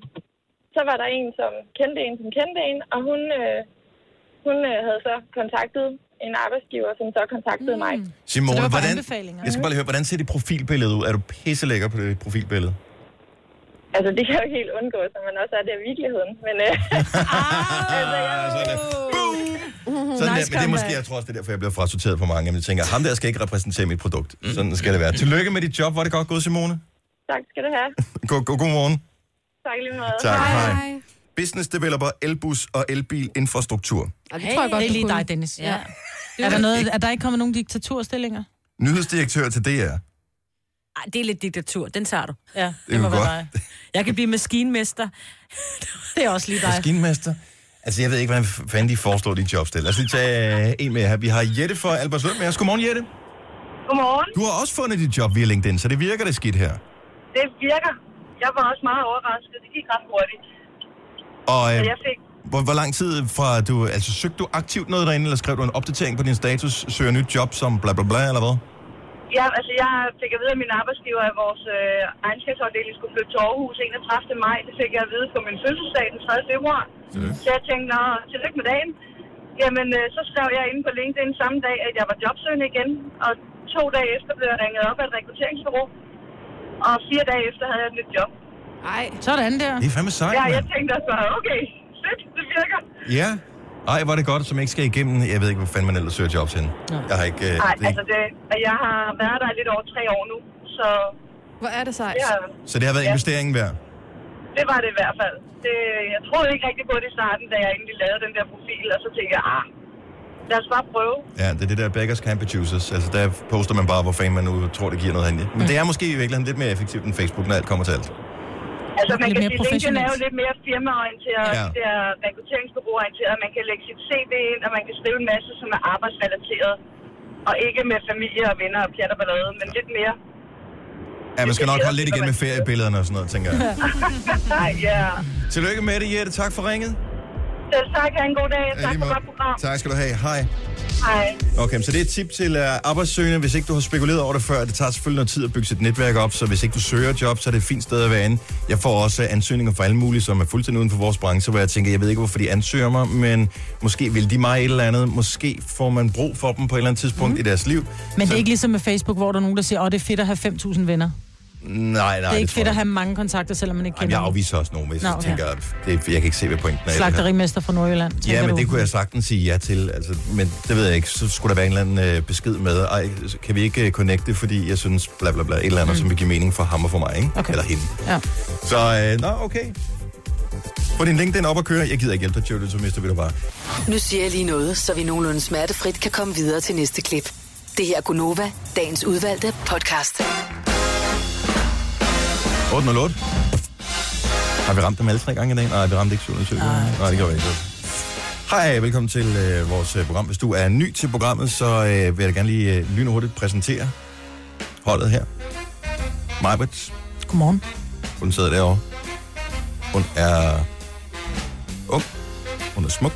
N: så var der en, som kendte en, som kendte en, og hun, øh, hun øh, havde så kontaktet en arbejdsgiver, som så kontaktede mm. mig.
A: Simone, hvordan,
N: anbefalinger.
A: jeg skal bare lige høre, hvordan ser dit profilbillede ud? Er du pisselækker på det profilbillede?
N: Altså, det kan jeg jo ikke helt undgå, så man også er det i virkeligheden. Men,
A: *laughs*
N: øh, altså, jeg...
A: Ah, Sådan der, men det er måske, jeg tror også, det er derfor, jeg bliver frasorteret på mange. Men jeg tænker, ham der skal ikke repræsentere mit produkt. Sådan skal det være. Tillykke med dit job. Var det godt gået, Simone?
N: Tak skal du have.
A: God, god, god morgen.
N: Tak i lige måde.
A: Tak. Hej. Business developer, elbus og elbilinfrastruktur.
B: Ja, det tror jeg godt,
D: det er
B: du
D: lige
B: kunne.
D: dig, Dennis.
B: Ja.
D: Ja. Er, der noget, er der ikke kommet nogen diktaturstillinger?
A: Nyhedsdirektør til DR.
C: Ej, det er lidt diktatur. Den tager du.
D: Ja, det,
A: Det må
D: må
A: kunne være
D: være
A: godt.
D: dig.
A: dig.
C: Jeg kan blive maskinmester. *laughs* det er også lige dig.
A: Maskinmester. Altså, jeg ved ikke, hvordan fanden de foreslår din job til. Lad os lige tage øh, en mere her. Vi har Jette fra Albertslund med os. Godmorgen, Jette.
M: Godmorgen.
A: Du har også fundet dit job via LinkedIn, så det virker det skidt her.
M: Det virker. Jeg var også meget overrasket. Det gik ret hurtigt.
A: Og
M: Så
A: øh,
M: jeg fik...
A: hvor, hvor lang tid fra du... Altså, søgte du aktivt noget derinde, eller skrev du en opdatering på din status? Søger nyt job som bla bla bla, eller hvad?
M: Ja, altså jeg fik at vide af min arbejdsgiver, at vores øh, regnskabsafdeling skulle flytte til Aarhus 31. maj. Det fik jeg at vide på min fødselsdag den 3. februar. Så jeg tænkte, nå, tillykke med dagen. Jamen, øh, så skrev jeg inde på LinkedIn samme dag, at jeg var jobsøgende igen. Og to dage efter blev jeg ringet op af et rekrutteringsbureau. Og fire dage efter havde jeg et nyt job.
B: Nej.
D: Sådan der.
A: Det er fandme sejt,
M: Ja,
A: mand.
M: jeg tænkte også bare, okay, fedt, det virker.
A: Ja. Ej, var det godt, som ikke skal igennem. Jeg ved ikke, hvor fanden man ellers søger jobs hen. Jeg har ikke... Øh,
M: Nej,
A: det,
M: altså det, og jeg har været der i lidt over tre år nu, så...
B: Hvor er det sejt.
M: Ja,
A: Så det har været investeringen værd.
M: det var det i hvert fald. Det, jeg troede ikke rigtig på det i starten, da jeg egentlig lavede den der profil, og så tænkte jeg, ah, lad os bare prøve.
A: Ja, det er det der beggars can't be choosers. Altså, der poster man bare, hvor fanden man nu tror, det giver noget handel. Men det er måske i virkeligheden lidt mere effektivt end Facebook, når alt kommer til alt.
M: Altså man
D: lidt
M: kan
D: mere
M: sige, LinkedIn er jo
D: professionelt.
M: lidt mere firmaorienteret,
A: Ja.
M: ja. det er rekrutteringsbureauorienteret, man kan lægge sit CV ind, og man kan skrive en masse, som er arbejdsrelateret, og ikke med familie og venner og pjat og ballade, men lidt mere.
A: Ja, man skal nok holde lidt igen med
D: *laughs*
A: feriebillederne og sådan noget,
M: *laughs*
A: tænker *laughs* jeg.
M: ja.
A: Tillykke med det, Jette. Tak for ringet.
M: Selv tak, have en god dag.
A: Ja,
M: Tak
A: lige
M: for
A: måde.
M: godt program.
A: Tak skal du have. Hej.
M: Hej.
A: Okay, så det er et tip til øh, arbejdssøgende, hvis ikke du har spekuleret over det før. Det tager selvfølgelig noget tid at bygge sit netværk op, så hvis ikke du søger job, så er det et fint sted at være inde. Jeg får også øh, ansøgninger fra alle mulige, som er fuldstændig uden for vores branche, hvor jeg tænker, jeg ved ikke, hvorfor de ansøger mig, men måske vil de mig et eller andet. Måske får man brug for dem på et eller andet tidspunkt mm. i deres liv.
D: Mhm. Men det er ikke ligesom med Facebook, hvor der er nogen, der siger, åh, det er fedt at have 5.000 venner.
A: Nej, nej,
D: det er ikke
A: tror
D: fedt
A: jeg
D: at have mange kontakter, selvom man ikke
A: Jamen,
D: kender
A: jeg
D: nogen.
A: afviser også nogen, hvis
D: Nå,
A: jeg
D: okay.
A: tænker, det, jeg kan ikke se, hvad pointen er. i det her.
D: Slagterimester fra Nordjylland, tænker
A: Ja, men
D: du?
A: det kunne jeg sagtens sige ja til, altså, men det ved jeg ikke. Så skulle der være en eller anden øh, besked med, ej, kan vi ikke øh, connecte, fordi jeg synes bla bla bla, et eller andet, mm. som vil give mening for ham og for mig, ikke? Okay. eller hende.
D: Ja.
A: Så, øh, nå, okay. Få din LinkedIn op og køre. Jeg gider ikke hjælpe dig, Jojo, så mister vi dig bare.
E: Nu siger jeg lige noget, så vi nogenlunde smertefrit kan komme videre til næste klip. Det her er Gunova, dagens udvalgte podcast.
A: 808. Har vi ramt dem alle tre gange i dag? Nej, vi ramte ikke 707. Nej, Nej det gør vi ikke. Hej, velkommen til øh, vores øh, program. Hvis du er ny til programmet, så øh, vil jeg da gerne lige øh, lynhurtigt præsentere holdet her. Majbert,
D: Godmorgen.
A: Hun sidder derovre. Hun er ung. Hun er smuk.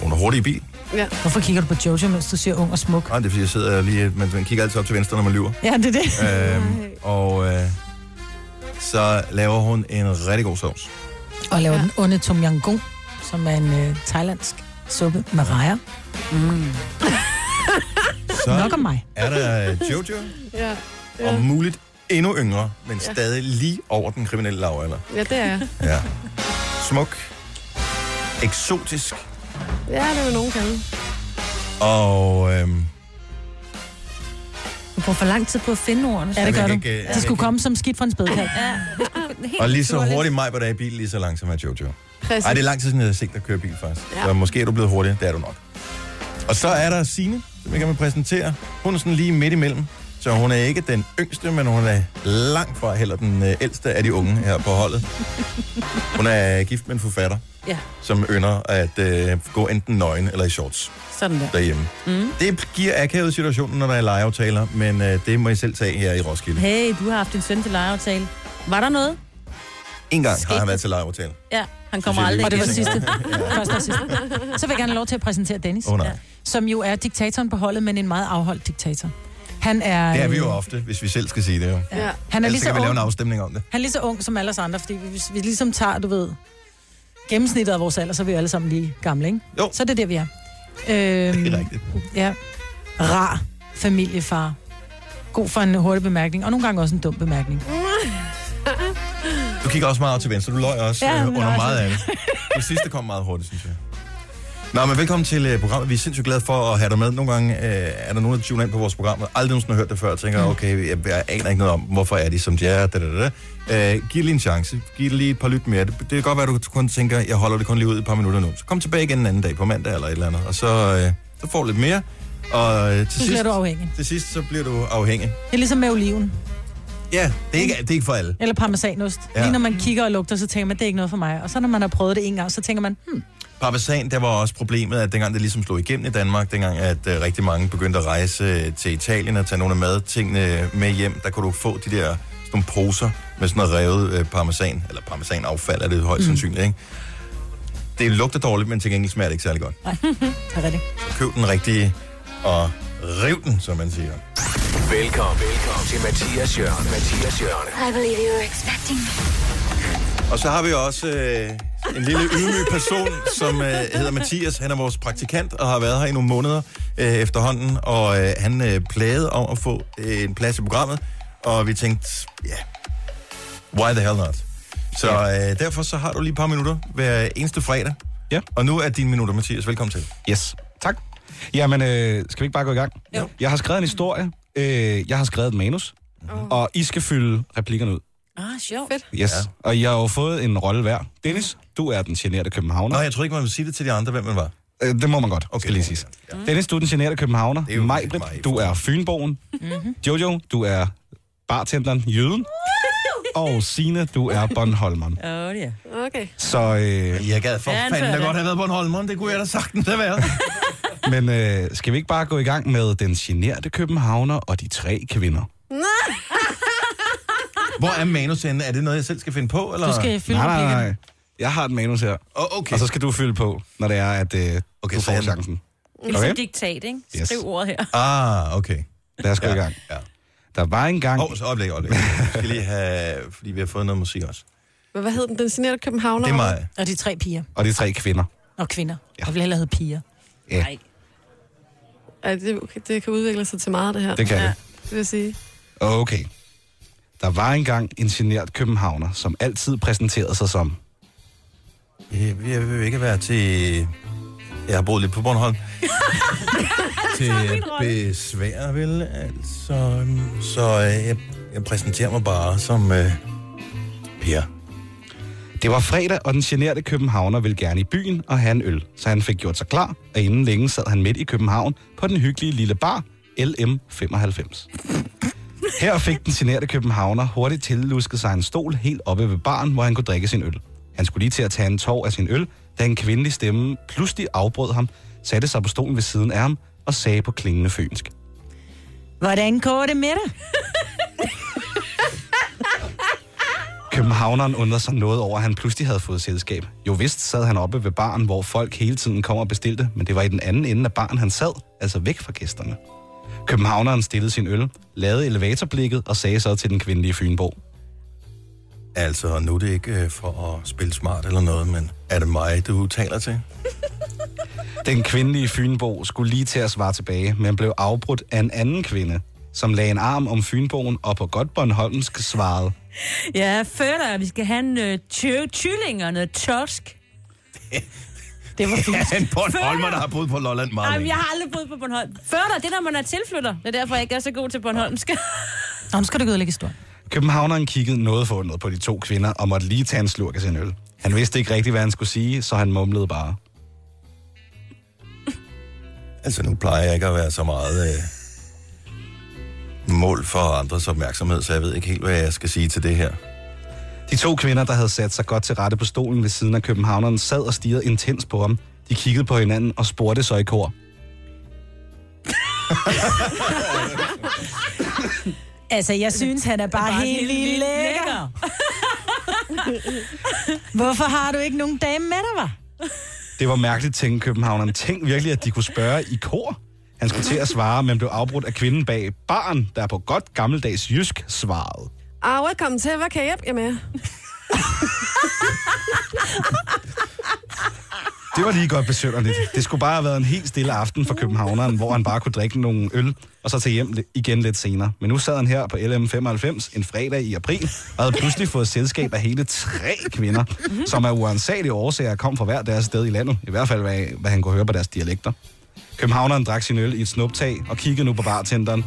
A: Hun er hurtig i bil.
B: Ja.
D: Hvorfor kigger du på Jojo, mens du siger ung og smuk?
A: Nej, det er fordi, jeg sidder lige... Man, man kigger altid op til venstre, når man lyver.
D: Ja, det er det. *laughs*
A: Øhm, og øh, så laver hun en rigtig god sovs.
D: Og laver ja. den onde tom yang gong, som er en øh, thailandsk suppe med rejer. Mm.
A: *laughs* Så
D: Nok om mig.
A: er der øh, Jojo,
B: Ja.
A: ja. og muligt endnu yngre, men
B: Ja.
A: ja. stadig lige over den kriminelle lavalder.
B: Ja, det er jeg.
A: Ja. Smuk. Eksotisk.
B: Ja, det vil nogen kalde.
A: Og øhm,
C: Du bruger for lang tid på at finde ordene.
A: Ja, det gør Jeg kan du. ikke, øh,
D: Det skulle komme som skidt fra en spædkald.
C: Ja.
A: og lige så hurtigt mig, hvor der er i bil, lige så langsom er Jojo.
B: Præcis.
A: Ej, det er lang tid siden, jeg har set dig køre bil, faktisk.
B: Ja.
A: Ja. Så måske er du blevet hurtig. Det er du nok. Og så er der Signe, som jeg gerne vil præsentere. Hun er sådan lige midt imellem. Så hun er ikke den yngste, men hun er langt fra heller den øh, ældste af de unge her på
B: *laughs*
A: holdet. Hun er gift med en forfatter,
C: Ja,
A: som ynder at øh, gå enten nøgen eller i shorts
C: sådan der.
A: derhjemme.
C: Mm.
A: Det giver akavet situationen, når der er legeaftaler, men øh, det må I selv tage her i Roskilde.
C: Hey, du har haft en søn til lejeaftale. Var der noget?
A: En gang har han været til legeaftale.
C: Ja, han kommer
A: Synes jeg, det
C: aldrig.
A: er
C: igen.
A: sidste. *laughs*
D: Første og sidste. Så vil jeg gerne have lov til at præsentere Dennis,
A: Åh, nej.
D: som jo er diktatoren på holdet, men en meget afholdt diktator. Han er,
A: Det er vi
D: øh,
A: jo ofte, hvis vi selv skal sige det jo.
D: Ja.
A: Han
D: Han
A: er
D: er
A: Ellers
D: lige så
A: kan vi lave en
D: ung.
A: afstemning om det.
D: han er lige så ung som alle os andre, fordi hvis vi ligesom tager, du ved, gennemsnittet af vores alder, så er vi jo alle sammen lige gamle, ikke?
A: Jo.
D: Så er det er der, vi er. Øhm,
A: Det er rigtigt.
D: Ja. Rar familiefar. God for en hurtig bemærkning, og nogle gange også en dum bemærkning.
A: Du kigger også meget til venstre. Du løj også
D: Ja,
A: ja, øh,
D: men
A: under
D: også.
A: meget af det. Det sidste kom meget hurtigt, synes jeg. Nå, men velkommen til øh, programmet. Vi er sindssygt glade for at have dig med. Nogle gange øh, er der nogen, der tuner ind på vores program, og aldrig nogensinde har hørt det før, og tænker,
D: Mm.
A: okay, jeg, jeg aner ikke noget om, hvorfor er de som de er, da, da, da. da. Øh, giv det lige en chance. Giv det lige et par lyt mere. Det, det kan godt være, at du kun tænker, jeg holder det kun lige ud i et par minutter nu. Så kom tilbage igen en anden dag på mandag eller et eller andet, og så, øh, så får du lidt mere. Og øh, til,
D: Så bliver
A: sidst,
D: du afhængig.
A: til sidst, så bliver du afhængig.
D: Det er ligesom med oliven.
A: Ja, det er ikke, det er ikke for alle.
D: Eller parmesanost.
A: Ja.
D: Ja. Lige når man kigger og lugter, så tænker man, det er ikke noget for mig. Og så når man har prøvet det en gang, så tænker man, hmm,
A: Parmesan, der var også problemet, at dengang det ligesom slog igennem i Danmark, dengang at øh, rigtig mange begyndte at rejse øh, til Italien og tage nogle af madtingene med hjem, der kunne du få de der sådan nogle poser med sådan noget revet øh, parmesan, eller parmesanaffald er det højst mm.
D: Mm.
A: sandsynligt, ikke? Det lugter dårligt, men til gengæld smager det ikke særlig godt.
D: nej, det er rigtigt.
A: Så køb den rigtige, og riv den, som man siger.
F: Velkommen, velkommen til Mathias Jørgen. Mathias Jørgen.
O: *laughs* I believe you were expecting me.
A: Og så har vi også øh, en lille ydmyg person, som øh, hedder Mathias. Han er vores praktikant og har været her i nogle måneder øh, efterhånden. Og øh, han øh, plagede om at få øh, en plads i programmet. Og vi tænkte, ja, why the hell not? Så øh, derfor så har du lige et par minutter hver eneste fredag.
P: Ja.
A: Og nu er dine minutter, Mathias. Velkommen til.
P: Yes. Tak. Jamen, øh, skal vi ikke bare gå i gang? Jo. Jeg har skrevet en historie. Øh, jeg har skrevet et manus.
A: Mm.
P: Oh. Og I skal fylde replikkerne ud.
C: Ah, sjovt. Fedt.
P: Yes. Ja. Og I har jo fået en rolle hver. Dennis, du er den generte københavner.
A: Nå, jeg tror ikke, man vil sige det til de andre, hvem man var.
P: Øh, det må man godt, okay, skal lige sige. Ja. Dennis, du er den generte københavner. Majbrit, du er Fynboen.
Q: Mm-hmm.
P: Jojo, du er bartenderen Jøden. Og Sine, du er Bornholmeren.
C: Åh, oh, ja.
A: *laughs*
B: Okay.
P: Så øh,
A: jeg gad for
B: Ja, han fanden da fører godt den. have
A: været på en Holmund. Det kunne jeg da sagtens have været.
P: *laughs* Men øh, skal vi ikke bare gå i gang med den generte københavner og de tre kvinder?
A: Hvor er manus henne? Er det noget, jeg selv skal finde på? Eller?
P: nej, nej, nej. Jeg har et manus her.
A: Oh, okay.
P: Og så skal du fylde på, når det er, at øh, okay, du får chancen.
C: Ligesom okay. diktat, ikke? Skriv
P: Yes.
C: ordet her.
A: Ah, okay.
P: Lad os gå i gang.
A: Ja.
P: Der var engang...
A: Åh, oh, så øjeblik, øjeblik. Vi skal lige have... Fordi vi har fået noget musik også.
B: Hvad, hvad hed den? Den signerede Københavner?
A: Det er mig.
D: Og de tre piger.
P: Og det er tre kvinder.
D: Og kvinder. Ja. Jeg vil hellere hedde piger.
P: Ja.
D: Nej.
B: Ja, det, det kan udvikle sig til meget, det her.
P: Det kan
B: ja.
P: det.
B: det. vil jeg sige.
P: Okay. Der var engang en genert københavner, som altid præsenterede sig som...
A: Jeg, jeg vil ikke være til... Jeg har boet lidt på Bornholm. til besvær, vel? Altså... øhm, Så øh, jeg, jeg præsenterer mig bare som... Øh, per.
P: Det var fredag, og den generte københavner ville gerne i byen og have en øl, så han fik gjort sig klar, og inden længe sad han midt i København på den hyggelige lille bar LM95. Her fik den generte københavner hurtigt tillusket sig en stol helt oppe ved baren, hvor han kunne drikke sin øl. Han skulle lige til at tage en tår af sin øl, da en kvindelig stemme pludselig afbrød ham, satte sig på stolen ved siden af ham og sagde på klingende fynsk.
D: Hvordan går det med dig?
P: Københavneren undrede sig noget over, at han pludselig havde fået selskab. Jo vist sad han oppe ved baren, hvor folk hele tiden kom og bestilte, men det var i den anden ende af baren, han sad, altså væk fra gæsterne. Københavneren stillede sin øl, lavede elevatorblikket og sagde så til den kvindelige Fynbo.
A: Altså, nu er det ikke øh, for at spille smart eller noget, men er det mig, du taler til?
P: *laughs* Den kvindelige Fynbo skulle lige til at svare tilbage, men blev afbrudt af en anden kvinde, som lagde en arm om Fynboen og på godt Bornholmsk svarede.
C: Ja, føler jeg, vi skal have en øh, tø- kylling og noget torsk.
D: Det var
A: fint. *laughs* en Bornholmer, der har boet på Lolland meget
C: Ej, men
A: længe.
C: jeg har aldrig boet på Bornholm. Før dig, det er, når man er tilflytter. Det er derfor, jeg ikke er så god til Bornholmsk.
D: Nå, nu skal du gå ud og lægge historien.
P: Københavneren kiggede noget forundret på de to kvinder og måtte lige tage en slurk af sin øl. Han vidste ikke rigtigt, hvad han skulle sige, så han mumlede bare.
A: Altså, nu plejer jeg ikke at være så meget øh, mål for andres opmærksomhed, så jeg ved ikke helt, hvad jeg skal sige til det her.
P: De to kvinder, der havde sat sig godt til rette på stolen ved siden af københavneren, sad og stirrede intens på ham. De kiggede på hinanden og spurgte så i kor.
O: Altså, jeg synes, han er bare,
D: Bare
O: bare helt
D: helt
O: vildt
D: vildt
O: lækker. *laughs* Hvorfor har du ikke nogen dame med dig, var?
P: Det var mærkeligt, tænkte københavneren. Tænk virkelig, at de kunne spørge i kor. Han skulle til at svare, men blev afbrudt af kvinden bag baren, der på godt gammeldags jysk svarede.
B: Ah, velkommen til. Hvad kan jeg hjælpe jer med?
P: Det var lige godt besønderligt. Det skulle bare have været en helt stille aften for københavneren, hvor han bare kunne drikke nogle øl, og så tage hjem li- igen lidt senere. Men nu sad han her på LM95 en fredag i april, og havde pludselig fået selskab af hele tre kvinder, som af uansagelige årsager kom fra hver deres sted i landet. I hvert fald, hvad, hvad han kunne høre på deres dialekter. Københavneren drak sin øl i et snuptag og kiggede nu på bartenderen.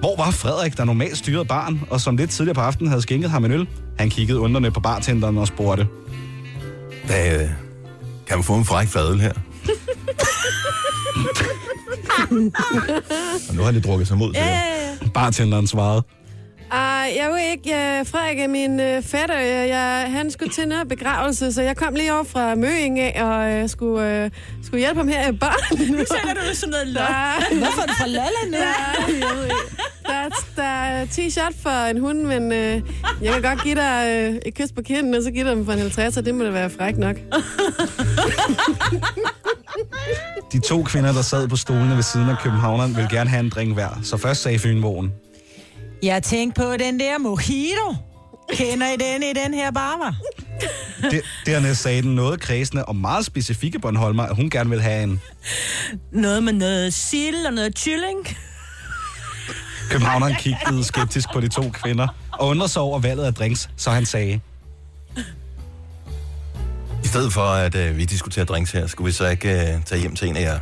P: Hvor var Frederik, der normalt styrede baren, og som lidt tidligere på aftenen havde skænket ham en øl? Han kiggede underne på bartenderen og spurgte.
A: Hvad, øh, kan man få en fræk fadel her? Og nu har de drukket sig mod til
B: Ja,
A: det.
B: ja, ja.
P: Bartenderen svarede.
B: Ah, jeg vil ikke. Jeg, Frederik er min øh, fætter. Jeg, jeg, han skulle til noget begravelse, så jeg kom lige over fra Møing af og øh, skulle, øh, skulle hjælpe ham her i
D: *laughs*
B: barn. Nu
O: sælger du sådan noget lol.
B: Der-
O: Hvorfor er du fra Lolland nu?
B: Der, jeg ved ikke. der, der er t-shirt for en hund, men øh, jeg kan godt give dig øh, et kys på kinden, og så give dig dem for en 50, og det må da være fræk nok.
P: De to kvinder, der sad på stolene ved siden af københavneren, ville gerne have en drink hver. Så først sagde Fynboen.
O: Jeg tænkte på den der mojito. Kender I den i den her bar, var?
P: Der, dernæst sagde den noget kredsende og meget specifikke Bornholmer, at hun gerne ville have en.
O: Noget med noget sild og noget chilling.
P: Københavneren kiggede skeptisk på de to kvinder og undrede sig over valget af drinks, så han sagde.
A: I stedet for, at øh, vi diskuterer drinks her, skulle vi så ikke øh, tage hjem til en af jer?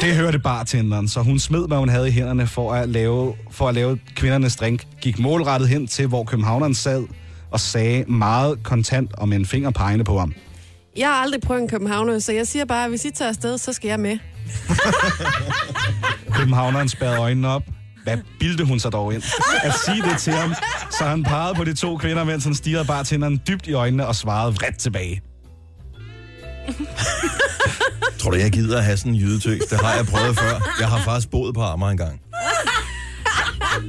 P: Det hørte bartenderen, så hun smed, hvad hun havde i hænderne for at lave, for at lave kvindernes drink, gik målrettet hen til, hvor københavneren sad og sagde meget kontant og med en finger pegende på ham.
B: Jeg har aldrig prøvet en københavner, så jeg siger bare, at hvis I tager afsted, så skal jeg med.
P: Københavneren spærrede øjnene op. Hvad bildte hun sig dog ind? At sige det til ham, så han pegede på de to kvinder, mens han stirrede bartenderen dybt i øjnene og svarede vredt tilbage.
A: Tror du, jeg gider at have sådan en jydetøs? Det har jeg prøvet før. Jeg har faktisk boet på Amager engang.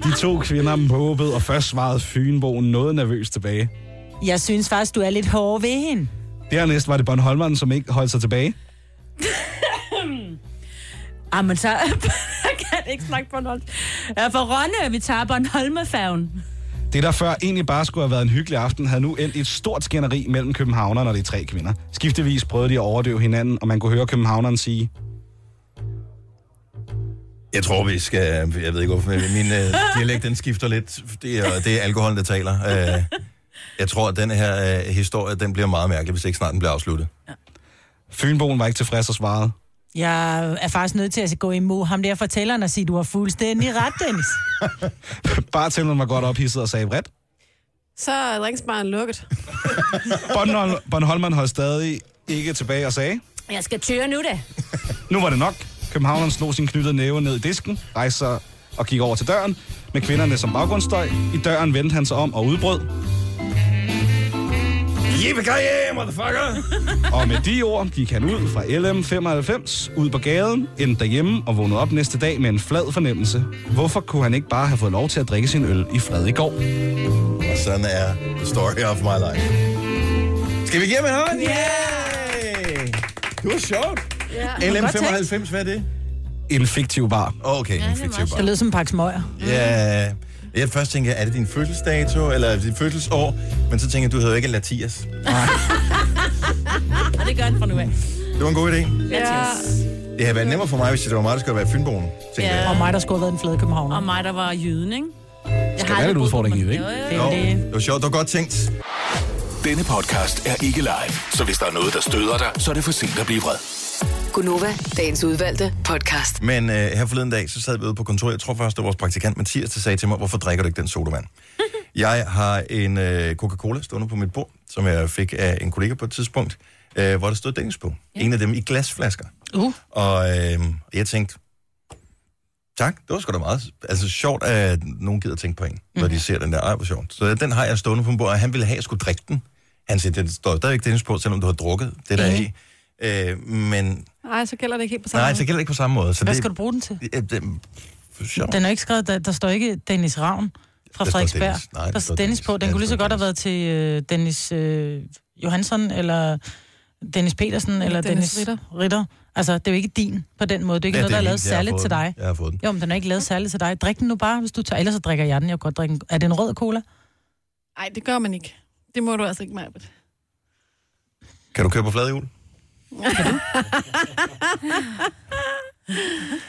P: De to kvinder måbede, og først svarede Fynboen noget nervøst tilbage.
O: Jeg synes faktisk, Altså, du er lidt hård ved hende.
P: Dernæst var det Bornholmeren, som ikke holdt sig tilbage.
O: Ah, men så
C: *laughs*
O: jeg kan ikke snakke Bornholm. Jeg er fra Rønne, vi tager Bornholmerfærgen.
P: Det, der før egentlig bare skulle have været en hyggelig aften, havde nu endt i et stort skænderi mellem københavnerne og de tre kvinder. Skiftevis prøvede de at overdøve hinanden, og man kunne høre københavneren sige,
A: Jeg tror, vi skal... Jeg ved ikke, hvorfor. Min øh, dialekt, den skifter lidt. Det er, det er alkoholen, der taler. Øh, jeg tror, at den her øh, historie, den bliver meget mærkelig, hvis ikke snart den bliver afsluttet.
P: Fynboen var ikke tilfreds og svarede.
O: Jeg er faktisk nødt til at gå imod ham der fortælleren og sige, du har fuldstændig ret,
A: *laughs*
O: Dennis.
P: Bartenderen var godt ophidset og sagde vredt.
B: Så er drinksbaren lukket.
P: Bornholm, Bornholmeren holdt stadig ikke tilbage og sagde,
O: Jeg skal tøre nu, da.
P: nu var det nok. Københavneren slog sin knyttede næve ned i disken, rejste sig og gik over til døren, med kvinderne som baggrundsstøj. I døren vendte han sig om og udbrød.
A: Yippee-ki-yay, motherfucker!
P: Og med de ord gik han ud fra LM95, ud på gaden, endte derhjemme og vågnede op næste dag med en flad fornemmelse. Hvorfor kunne han ikke bare have fået lov til at drikke sin øl i fred i går?
A: Og sådan er the story of my life. Skal vi give ham en hånd?
H: Ja!
A: Yeah! Det var sjovt.
H: Ja.
A: LM95, hvad er det?
P: En fiktiv bar.
A: Okay, en fiktiv bar.
O: Det lyder som en pakke smøger.
A: Ja, jeg først tænker, er det din fødselsdato, eller er det dit fødselsår? Men så tænker jeg, du hedder jo ikke Latias.
O: Og det gør han fra nu af.
A: Det var en god idé.
O: Ja.
A: Det havde været nemmere for mig, hvis det var mig, der skulle have været Fynboen.
O: ja. Og mig, der skulle have været en flade københavner. Og mig, der var jyden, ikke? Jeg har aldrig boet på Bornholm. Jo, jo, jo. Det er det.
A: Det var sjovt, det var godt tænkt.
F: Denne podcast er ikke live, så hvis der er noget, der støder dig, så er det for sent at blive vred.
E: Gunova, dagens udvalgte podcast.
A: Men øh, her forleden dag, så sad vi ude på kontoret. Jeg tror først, det var vores praktikant Mathias, der sagde til mig, hvorfor drikker du ikke den
O: *laughs*
A: sodavand? jeg har en øh, Coca-Cola stående på mit bord, som jeg fik af en kollega på et tidspunkt, øh, hvor der stod Dennis på. En af dem i glasflasker.
D: Uh.
A: Og øh, jeg tænkte, tak, det var sgu da meget altså, sjovt, at nogen gider tænke på en, når
D: Mhm.
A: de ser den der. Ej, hvor sjovt. Så den har jeg stående på en bord, og han ville have, at jeg skulle drikke den. Han siger, den står stadigvæk Dennis på, selvom du har drukket det der
D: Mhm.
A: i. Øh, men
B: Nej, så gælder det ikke helt på samme
A: nej,
B: måde.
A: så gælder det ikke på samme måde. Så
D: Hvad
A: det,
D: skal du bruge den til?
A: Ja, det, for sjov.
D: Den er jo ikke skrevet, der, der står ikke Dennis Ravn fra
A: Der står
D: Frederiksberg.
A: Dennis. Nej, der
D: der
A: står
D: står Dennis på. Den kunne lige så godt have været til øh, Dennis øh, Johansson, eller Dennis Petersen, eller
B: Dennis
D: Dennis,
B: Ritter.
D: Ritter. Ritter. Altså, det er jo ikke din på den måde. Det er ikke
A: Ja,
D: ja, noget, der er
A: min.
D: lavet
A: Jeg har
D: særligt
A: fået
D: til
A: den.
D: dig.
A: Jeg har fået den.
D: Jo, men den er ikke lavet særligt til dig. Drik den nu bare, hvis du tør. Ellers så drikker jeg den. Jeg kan godt drikke den. Er det en rød cola?
Q: Nej, det gør man ikke. Det må du altså ikke, Marbet.
A: Kan du køre på flade hjul?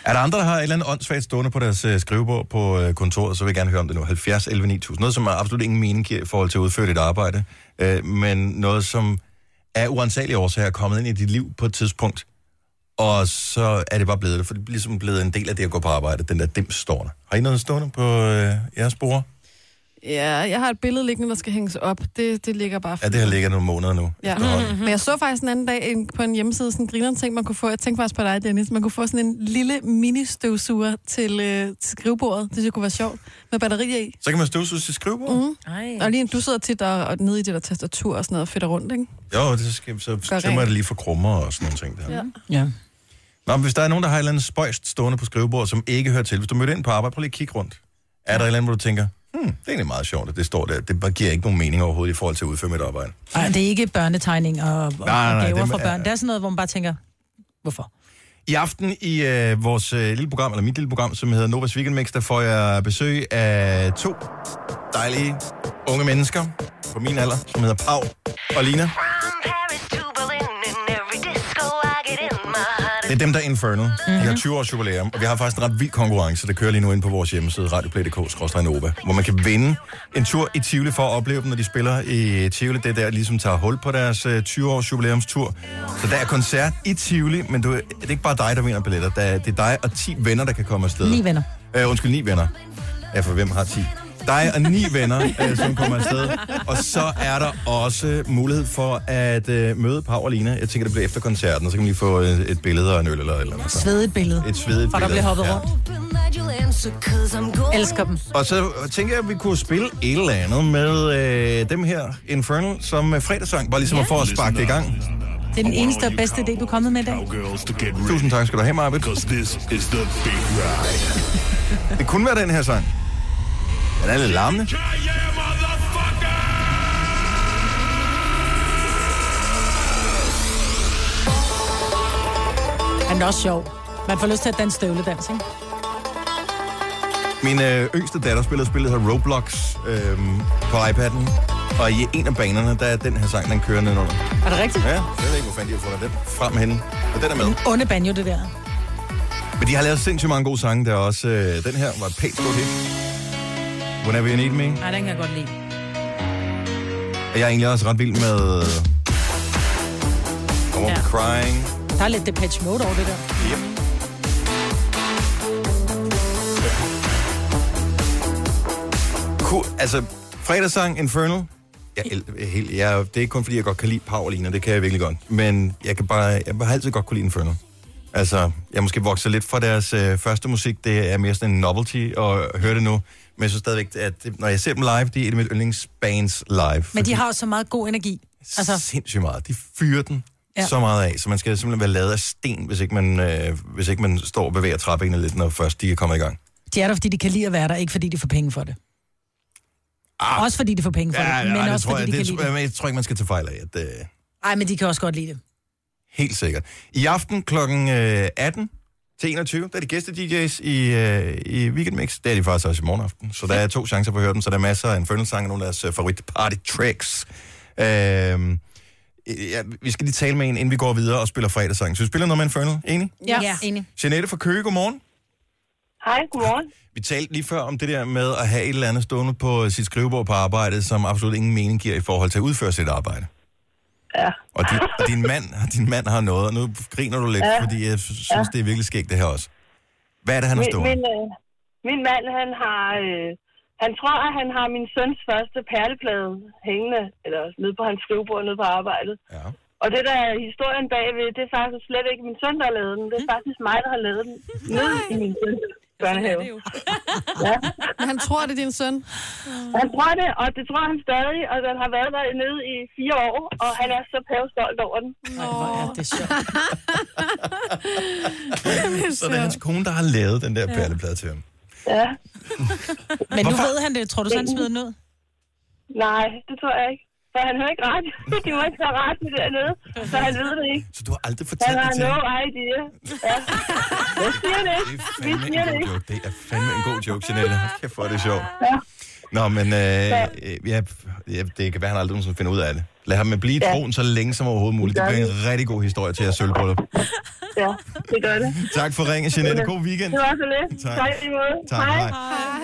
A: Er der andre, der har et eller andet åndssvagt stående på deres øh, skrivebord på øh, kontoret, så vil jeg gerne høre om det nu. 70 11 9000. Noget, som er absolut ingen mening giver i forhold til at udføre dit arbejde, øh, men noget, som af uansagelige årsager er kommet ind i dit liv på et tidspunkt, og så er det bare blevet det, for det er ligesom blevet en del af det at gå på arbejde, den der dims stående. Har I noget stående på øh, jeres bord?
B: *laughs* Ja, jeg har et billede liggende, der skal hænges op. Det, det ligger bare...
A: Ja, det har ligget nogle måneder nu.
B: Ja. Men jeg så faktisk en anden dag en, på en hjemmeside sådan en grineren ting, man kunne få. Jeg tænkte faktisk på dig, Dennis. Man kunne få sådan en lille mini-støvsuger til, øh, til skrivebordet. Det synes jeg kunne være sjovt. Med batterier i.
A: Så kan man støvsuge sit skrivebord? Mm.
B: Mm. Og lige du sidder tit og, og nede i det der tastatur og sådan noget og fedter rundt, ikke?
A: Jo, det skal, så tømmer jeg det lige for krummer og sådan nogle ting der.
B: Ja.
D: Ja.
A: Nå, men hvis der er nogen, der har et eller andet spøjst stående på skrivebordet, som ikke hører til. Hvis du mødte ind på arbejde, prøv lige at kigge rundt. Er der et eller andet, hvor du tænker, hmm, det er egentlig meget sjovt, at det står der. Det bare giver ikke nogen mening overhovedet i forhold til at udføre mit arbejde.
D: Nej, det er ikke børnetegning og, og,
A: nej,
D: og
A: nej,
D: gaver
A: dem
D: fra
A: er-
D: børn. Det er sådan noget, hvor man bare tænker, hvorfor?
A: I aften i øh, vores øh, lille program, eller mit lille program, som hedder Novas Weekend Mix, der får jeg besøg af to dejlige unge mennesker på min alder, som hedder Pau og Lina. Det er dem, der er Infernal. De har 20 års jubilæum, og vi har faktisk en ret vild konkurrence, der kører lige nu ind på vores hjemmeside, radioplay.dk-nova, hvor man kan vinde en tur i Tivoli for at opleve dem, når de spiller i Tivoli. Det er der, ligesom tager hul på deres øh, 20 års jubilæumstur. Så der er koncert i Tivoli, men du, det er ikke bare dig, der vinder billetter. Der, er- det er dig og 10 venner, der kan komme afsted.
D: Ni venner.
A: Øh, undskyld, ni venner. Ja, for hvem har 10? Dig og ni
D: *laughs*
A: venner, øh, som kommer afsted. Og så er der også mulighed for at øh, møde Pau og Lina. Jeg tænker, det bliver efter koncerten, og så kan man lige få øh, et billede og en øl eller et eller andet. Så.
D: Svedet billede.
A: Et svedigt
D: For der
A: billede,
D: bliver hoppet
A: ja.
D: rundt. Elsker dem.
A: Og så tænker jeg, at vi kunne spille et eller andet med øh, dem her, Infernal, som øh, fredagssang. Bare ligesom
D: Ja.
A: at få os sparket i gang.
D: Det er den eneste og bedste idé, du er kommet med i dag.
A: Tusind tak skal du have, Marvitt. Det kunne være den her sang. Den er lidt larmende.
D: Han er også sjov. Man får lyst til at danse støvledans, ikke?
A: Min øh, yngste datter spillede spillet her Roblox øh, på iPad'en. Og i en af banerne, der er den her sang, den kører nedenunder.
D: Er det rigtigt?
A: Ja, jeg ved ikke, hvor fanden de har fundet den frem henne. Og den er med.
D: En onde banjo, det der.
A: Men de har lavet sindssygt mange gode sange. Der er også øh, den her, var et pænt stort hit. Whenever you need me.
C: Nej, den kan jeg godt lide.
A: Og jeg er egentlig også ret vild med... øh, I won't be crying.
D: Der er lidt Depeche Mode over det der.
A: Yep. Cool. Altså, fredagssang Infernal. Jeg, el- helt, jeg, det er ikke kun, fordi jeg godt kan lide Paulina, det kan jeg virkelig godt. Men jeg kan bare, jeg har altid godt kunne lide Infernal. Altså, jeg er måske vokset lidt fra deres øh, første musik. Det er mere sådan en novelty at høre det nu. Men jeg synes stadigvæk, at det, når jeg ser dem live, de er et af mit yndlingsbands live.
D: Men de har også så meget god energi.
A: Altså... Sindssygt meget. De fyrer den ja.
D: Ja.
A: så meget af, så man skal simpelthen være lavet af sten, hvis ikke man, øh, hvis ikke man står og bevæger trappebenet lidt, når først de er kommet i gang.
D: De er der, fordi de kan lide at være der, ikke fordi de får penge for det. Ah. Også fordi de får penge for ja, det, men
A: ej, det
D: også
A: tror
D: fordi
A: jeg,
D: de
A: det,
D: kan lide
A: tror-
D: det.
A: men jeg tror ikke, man skal tage fejl af, at øh,
D: Nej, men de kan også godt lide det.
A: helt sikkert. I aften kl. 18 til 21, der er de gæste-DJ's i, øh, i Weekendmix. Det er de faktisk også i morgen aften, så der er to chancer for at høre dem, så der er masser af Infernal-sange og nogle af deres øh, favorit-party-tracks. Øh, ja, vi skal lige tale med en, inden vi går videre og spiller fredagssang. Så vi spiller noget med Infernal, enig?
Q: Ja, ja. enig.
A: Jeanette fra Køge, godmorgen.
Q: Hej, godmorgen.
A: *laughs* Vi talte lige før om det der med at have et eller andet stående på sit skrivebord på arbejde, som absolut ingen mening giver i forhold til at udføre sit arbejde.
Q: Ja.
A: Og din, og din, mand, *laughs* din mand har noget, og nu griner du lidt, ja.
Q: Ja.
A: fordi jeg synes,
Q: Ja.
A: ja. det er virkelig skægt det her også. Hvad er det, han har
Q: min,
A: stående?
Q: min, øh, min mand, han har... Øh, han tror, at han har min søns første perleplade hængende, eller nede på hans skrivebord nede på arbejdet.
A: Ja.
Q: Og det der er historien bagved, det er faktisk slet ikke min søn, der har lavet den. Det er faktisk mig, der har lavet den. Nede i min søns børnehave. *laughs* Ja.
B: Han tror, det er din søn.
Q: Han tror det, og det tror han stadig, og den har været der nede i fire år, og han er så pævestolt over den.
D: Nej, hvor er det sjovt.
A: *laughs* Så *laughs* det er hans kone, der har lavet den der perleplade til ham.
Q: Ja.
D: Men nu
A: Hvorfor?
D: ved han det. Tror du, så han smider den ud?
Q: Nej, det tror jeg ikke. For han hører ikke radio. *laughs* De må ikke have radio dernede, så han ved det ikke.
A: Så du har aldrig
Q: Han
A: fortalt
Q: har
A: det til
Q: no
A: ham?
Q: idea. Ja. Jeg siger det ikke. Vi
A: Fandme
Q: siger det
A: en god
Q: ikke.
A: joke. Det er fandme en god joke, Janelle. Hold kæft, hvor er det sjovt.
Q: Ja.
A: Nå, men øh, øh, ja, ja, det kan være, han aldrig nogensinde finder ud af det. Lad ham blive i
Q: Ja.
A: troen så længe som overhovedet muligt. Det
Q: Det gør
A: bliver en rigtig god historie til at sølvbryllup.
Q: Ja, det gør det.
A: Tak for ringen, Jeanette. God weekend.
Q: Det var så lidt.
A: Tak.
Q: Tak i lige måde.
A: Tak, hej.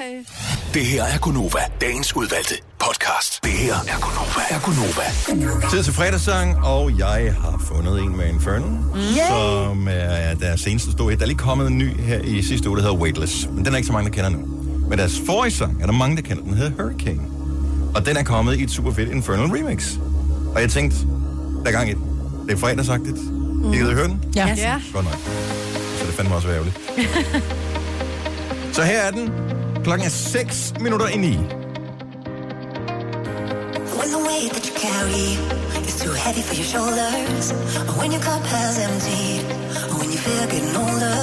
B: Hej.
F: Det her er Gunova, dagens udvalgte podcast. Det her er Gunova, er Gunova.
A: Tid til fredagssang, og jeg har fundet en med Inferno,
F: Yay!
A: som er deres seneste store hit. Der er lige kommet en ny her i sidste uge, der hedder Weightless. Men den er ikke så mange, der kender nu. Men deres forrige sang er der mange, der kender. Den hedder Hurricane. Og den er kommet i et super fedt Infernal remix. Og jeg tænkte, der er gang i den. Det er fredagsagtigt. Mm. I gider høre den?
D: Ja.
B: ja.
A: Godt nok. Så det fandme også være ærgerligt. Så her er den. Klokken er 6 minutter i 9.
R: When the weight that you carry is too heavy for your shoulders, or when your cup has emptied, or when you feel getting older.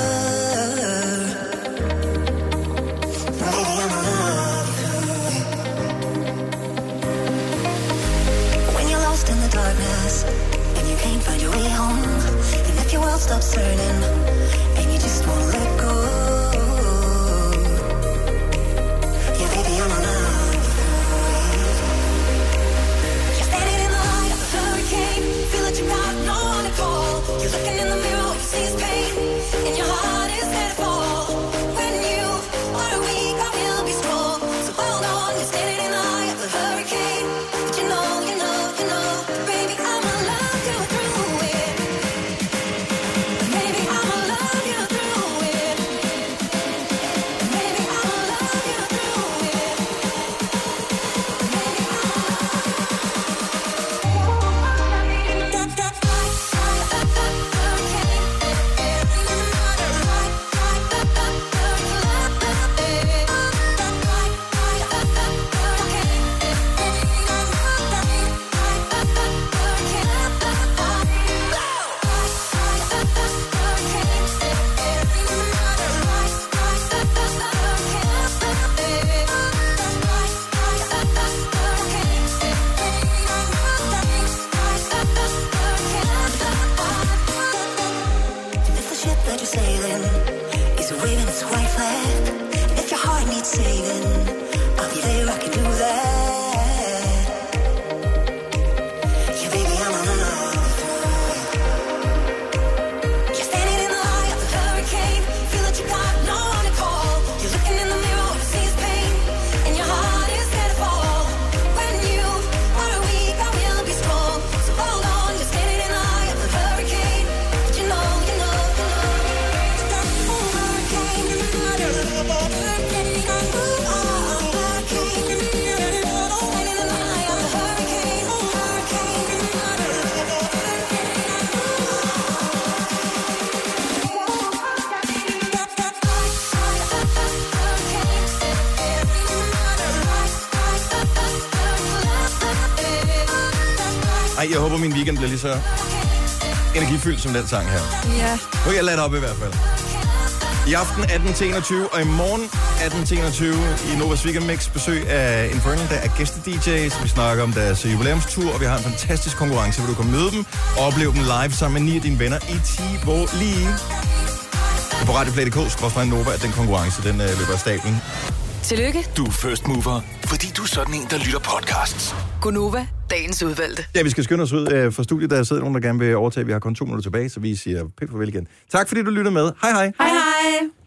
R: Baby, I'ma love you through it. When you're lost in the darkness and you can't find your way home, and if your world stops turning and you just wanna let go, yeah, baby, I'ma love you. You're standing in the eye of a hurricane. Feel that you've got no one to call. You're looking in the mirror, all you see is pain, and your heart is headed for. When you are weak, I will be strong. So hold on, you're standing in the eye of a hurricane, but you know, you know, you know, baby, I'ma love you through it. Baby, I'ma love you through it. Baby, I'ma love you through it. If the ship that you're sailing is waving its white flag, if your heart needs saving, I'll be there. I can do that. Yeah, baby, I'm in love. You're standing in the eye of the hurricane. Feel that you got no one to call. You're looking in the mirror, all you see is pain, and your heart is gonna fall. When you are weak, I will be strong. So hold on, you're standing in the eye of the hurricane. But you know, you know, you know, hurricane, hurricane,
A: Ej, jeg håber, min weekend bliver lige så energifyldt som den sang her.
B: Ja.
A: Nu kan jeg lade det op i hvert fald. I aften 18-21, og i morgen 18-21 i Novas Weekend Mix besøg af Infernal, der er gæste-DJ's. Vi snakker om deres jubilæumstur, og vi har en fantastisk konkurrence, hvor du kan møde dem og opleve dem live sammen med ni af dine venner i Tivoli. Det er På radioplay.dk, skråstrej Nova, at den konkurrence, den øh, løber af stablen.
E: Tillykke,
A: Du er first mover.
F: Fordi du er sådan en, der lytter podcasts.
E: Gunova, dagens udvalgte.
A: Ja, vi skal skynde os ud øh, fra studiet, der sidder nogen, der gerne vil overtage. Vi har kun to minutter tilbage, så vi siger pænt farvel igen. Tak fordi du lyttede med. Hej hej.
E: Hej hej.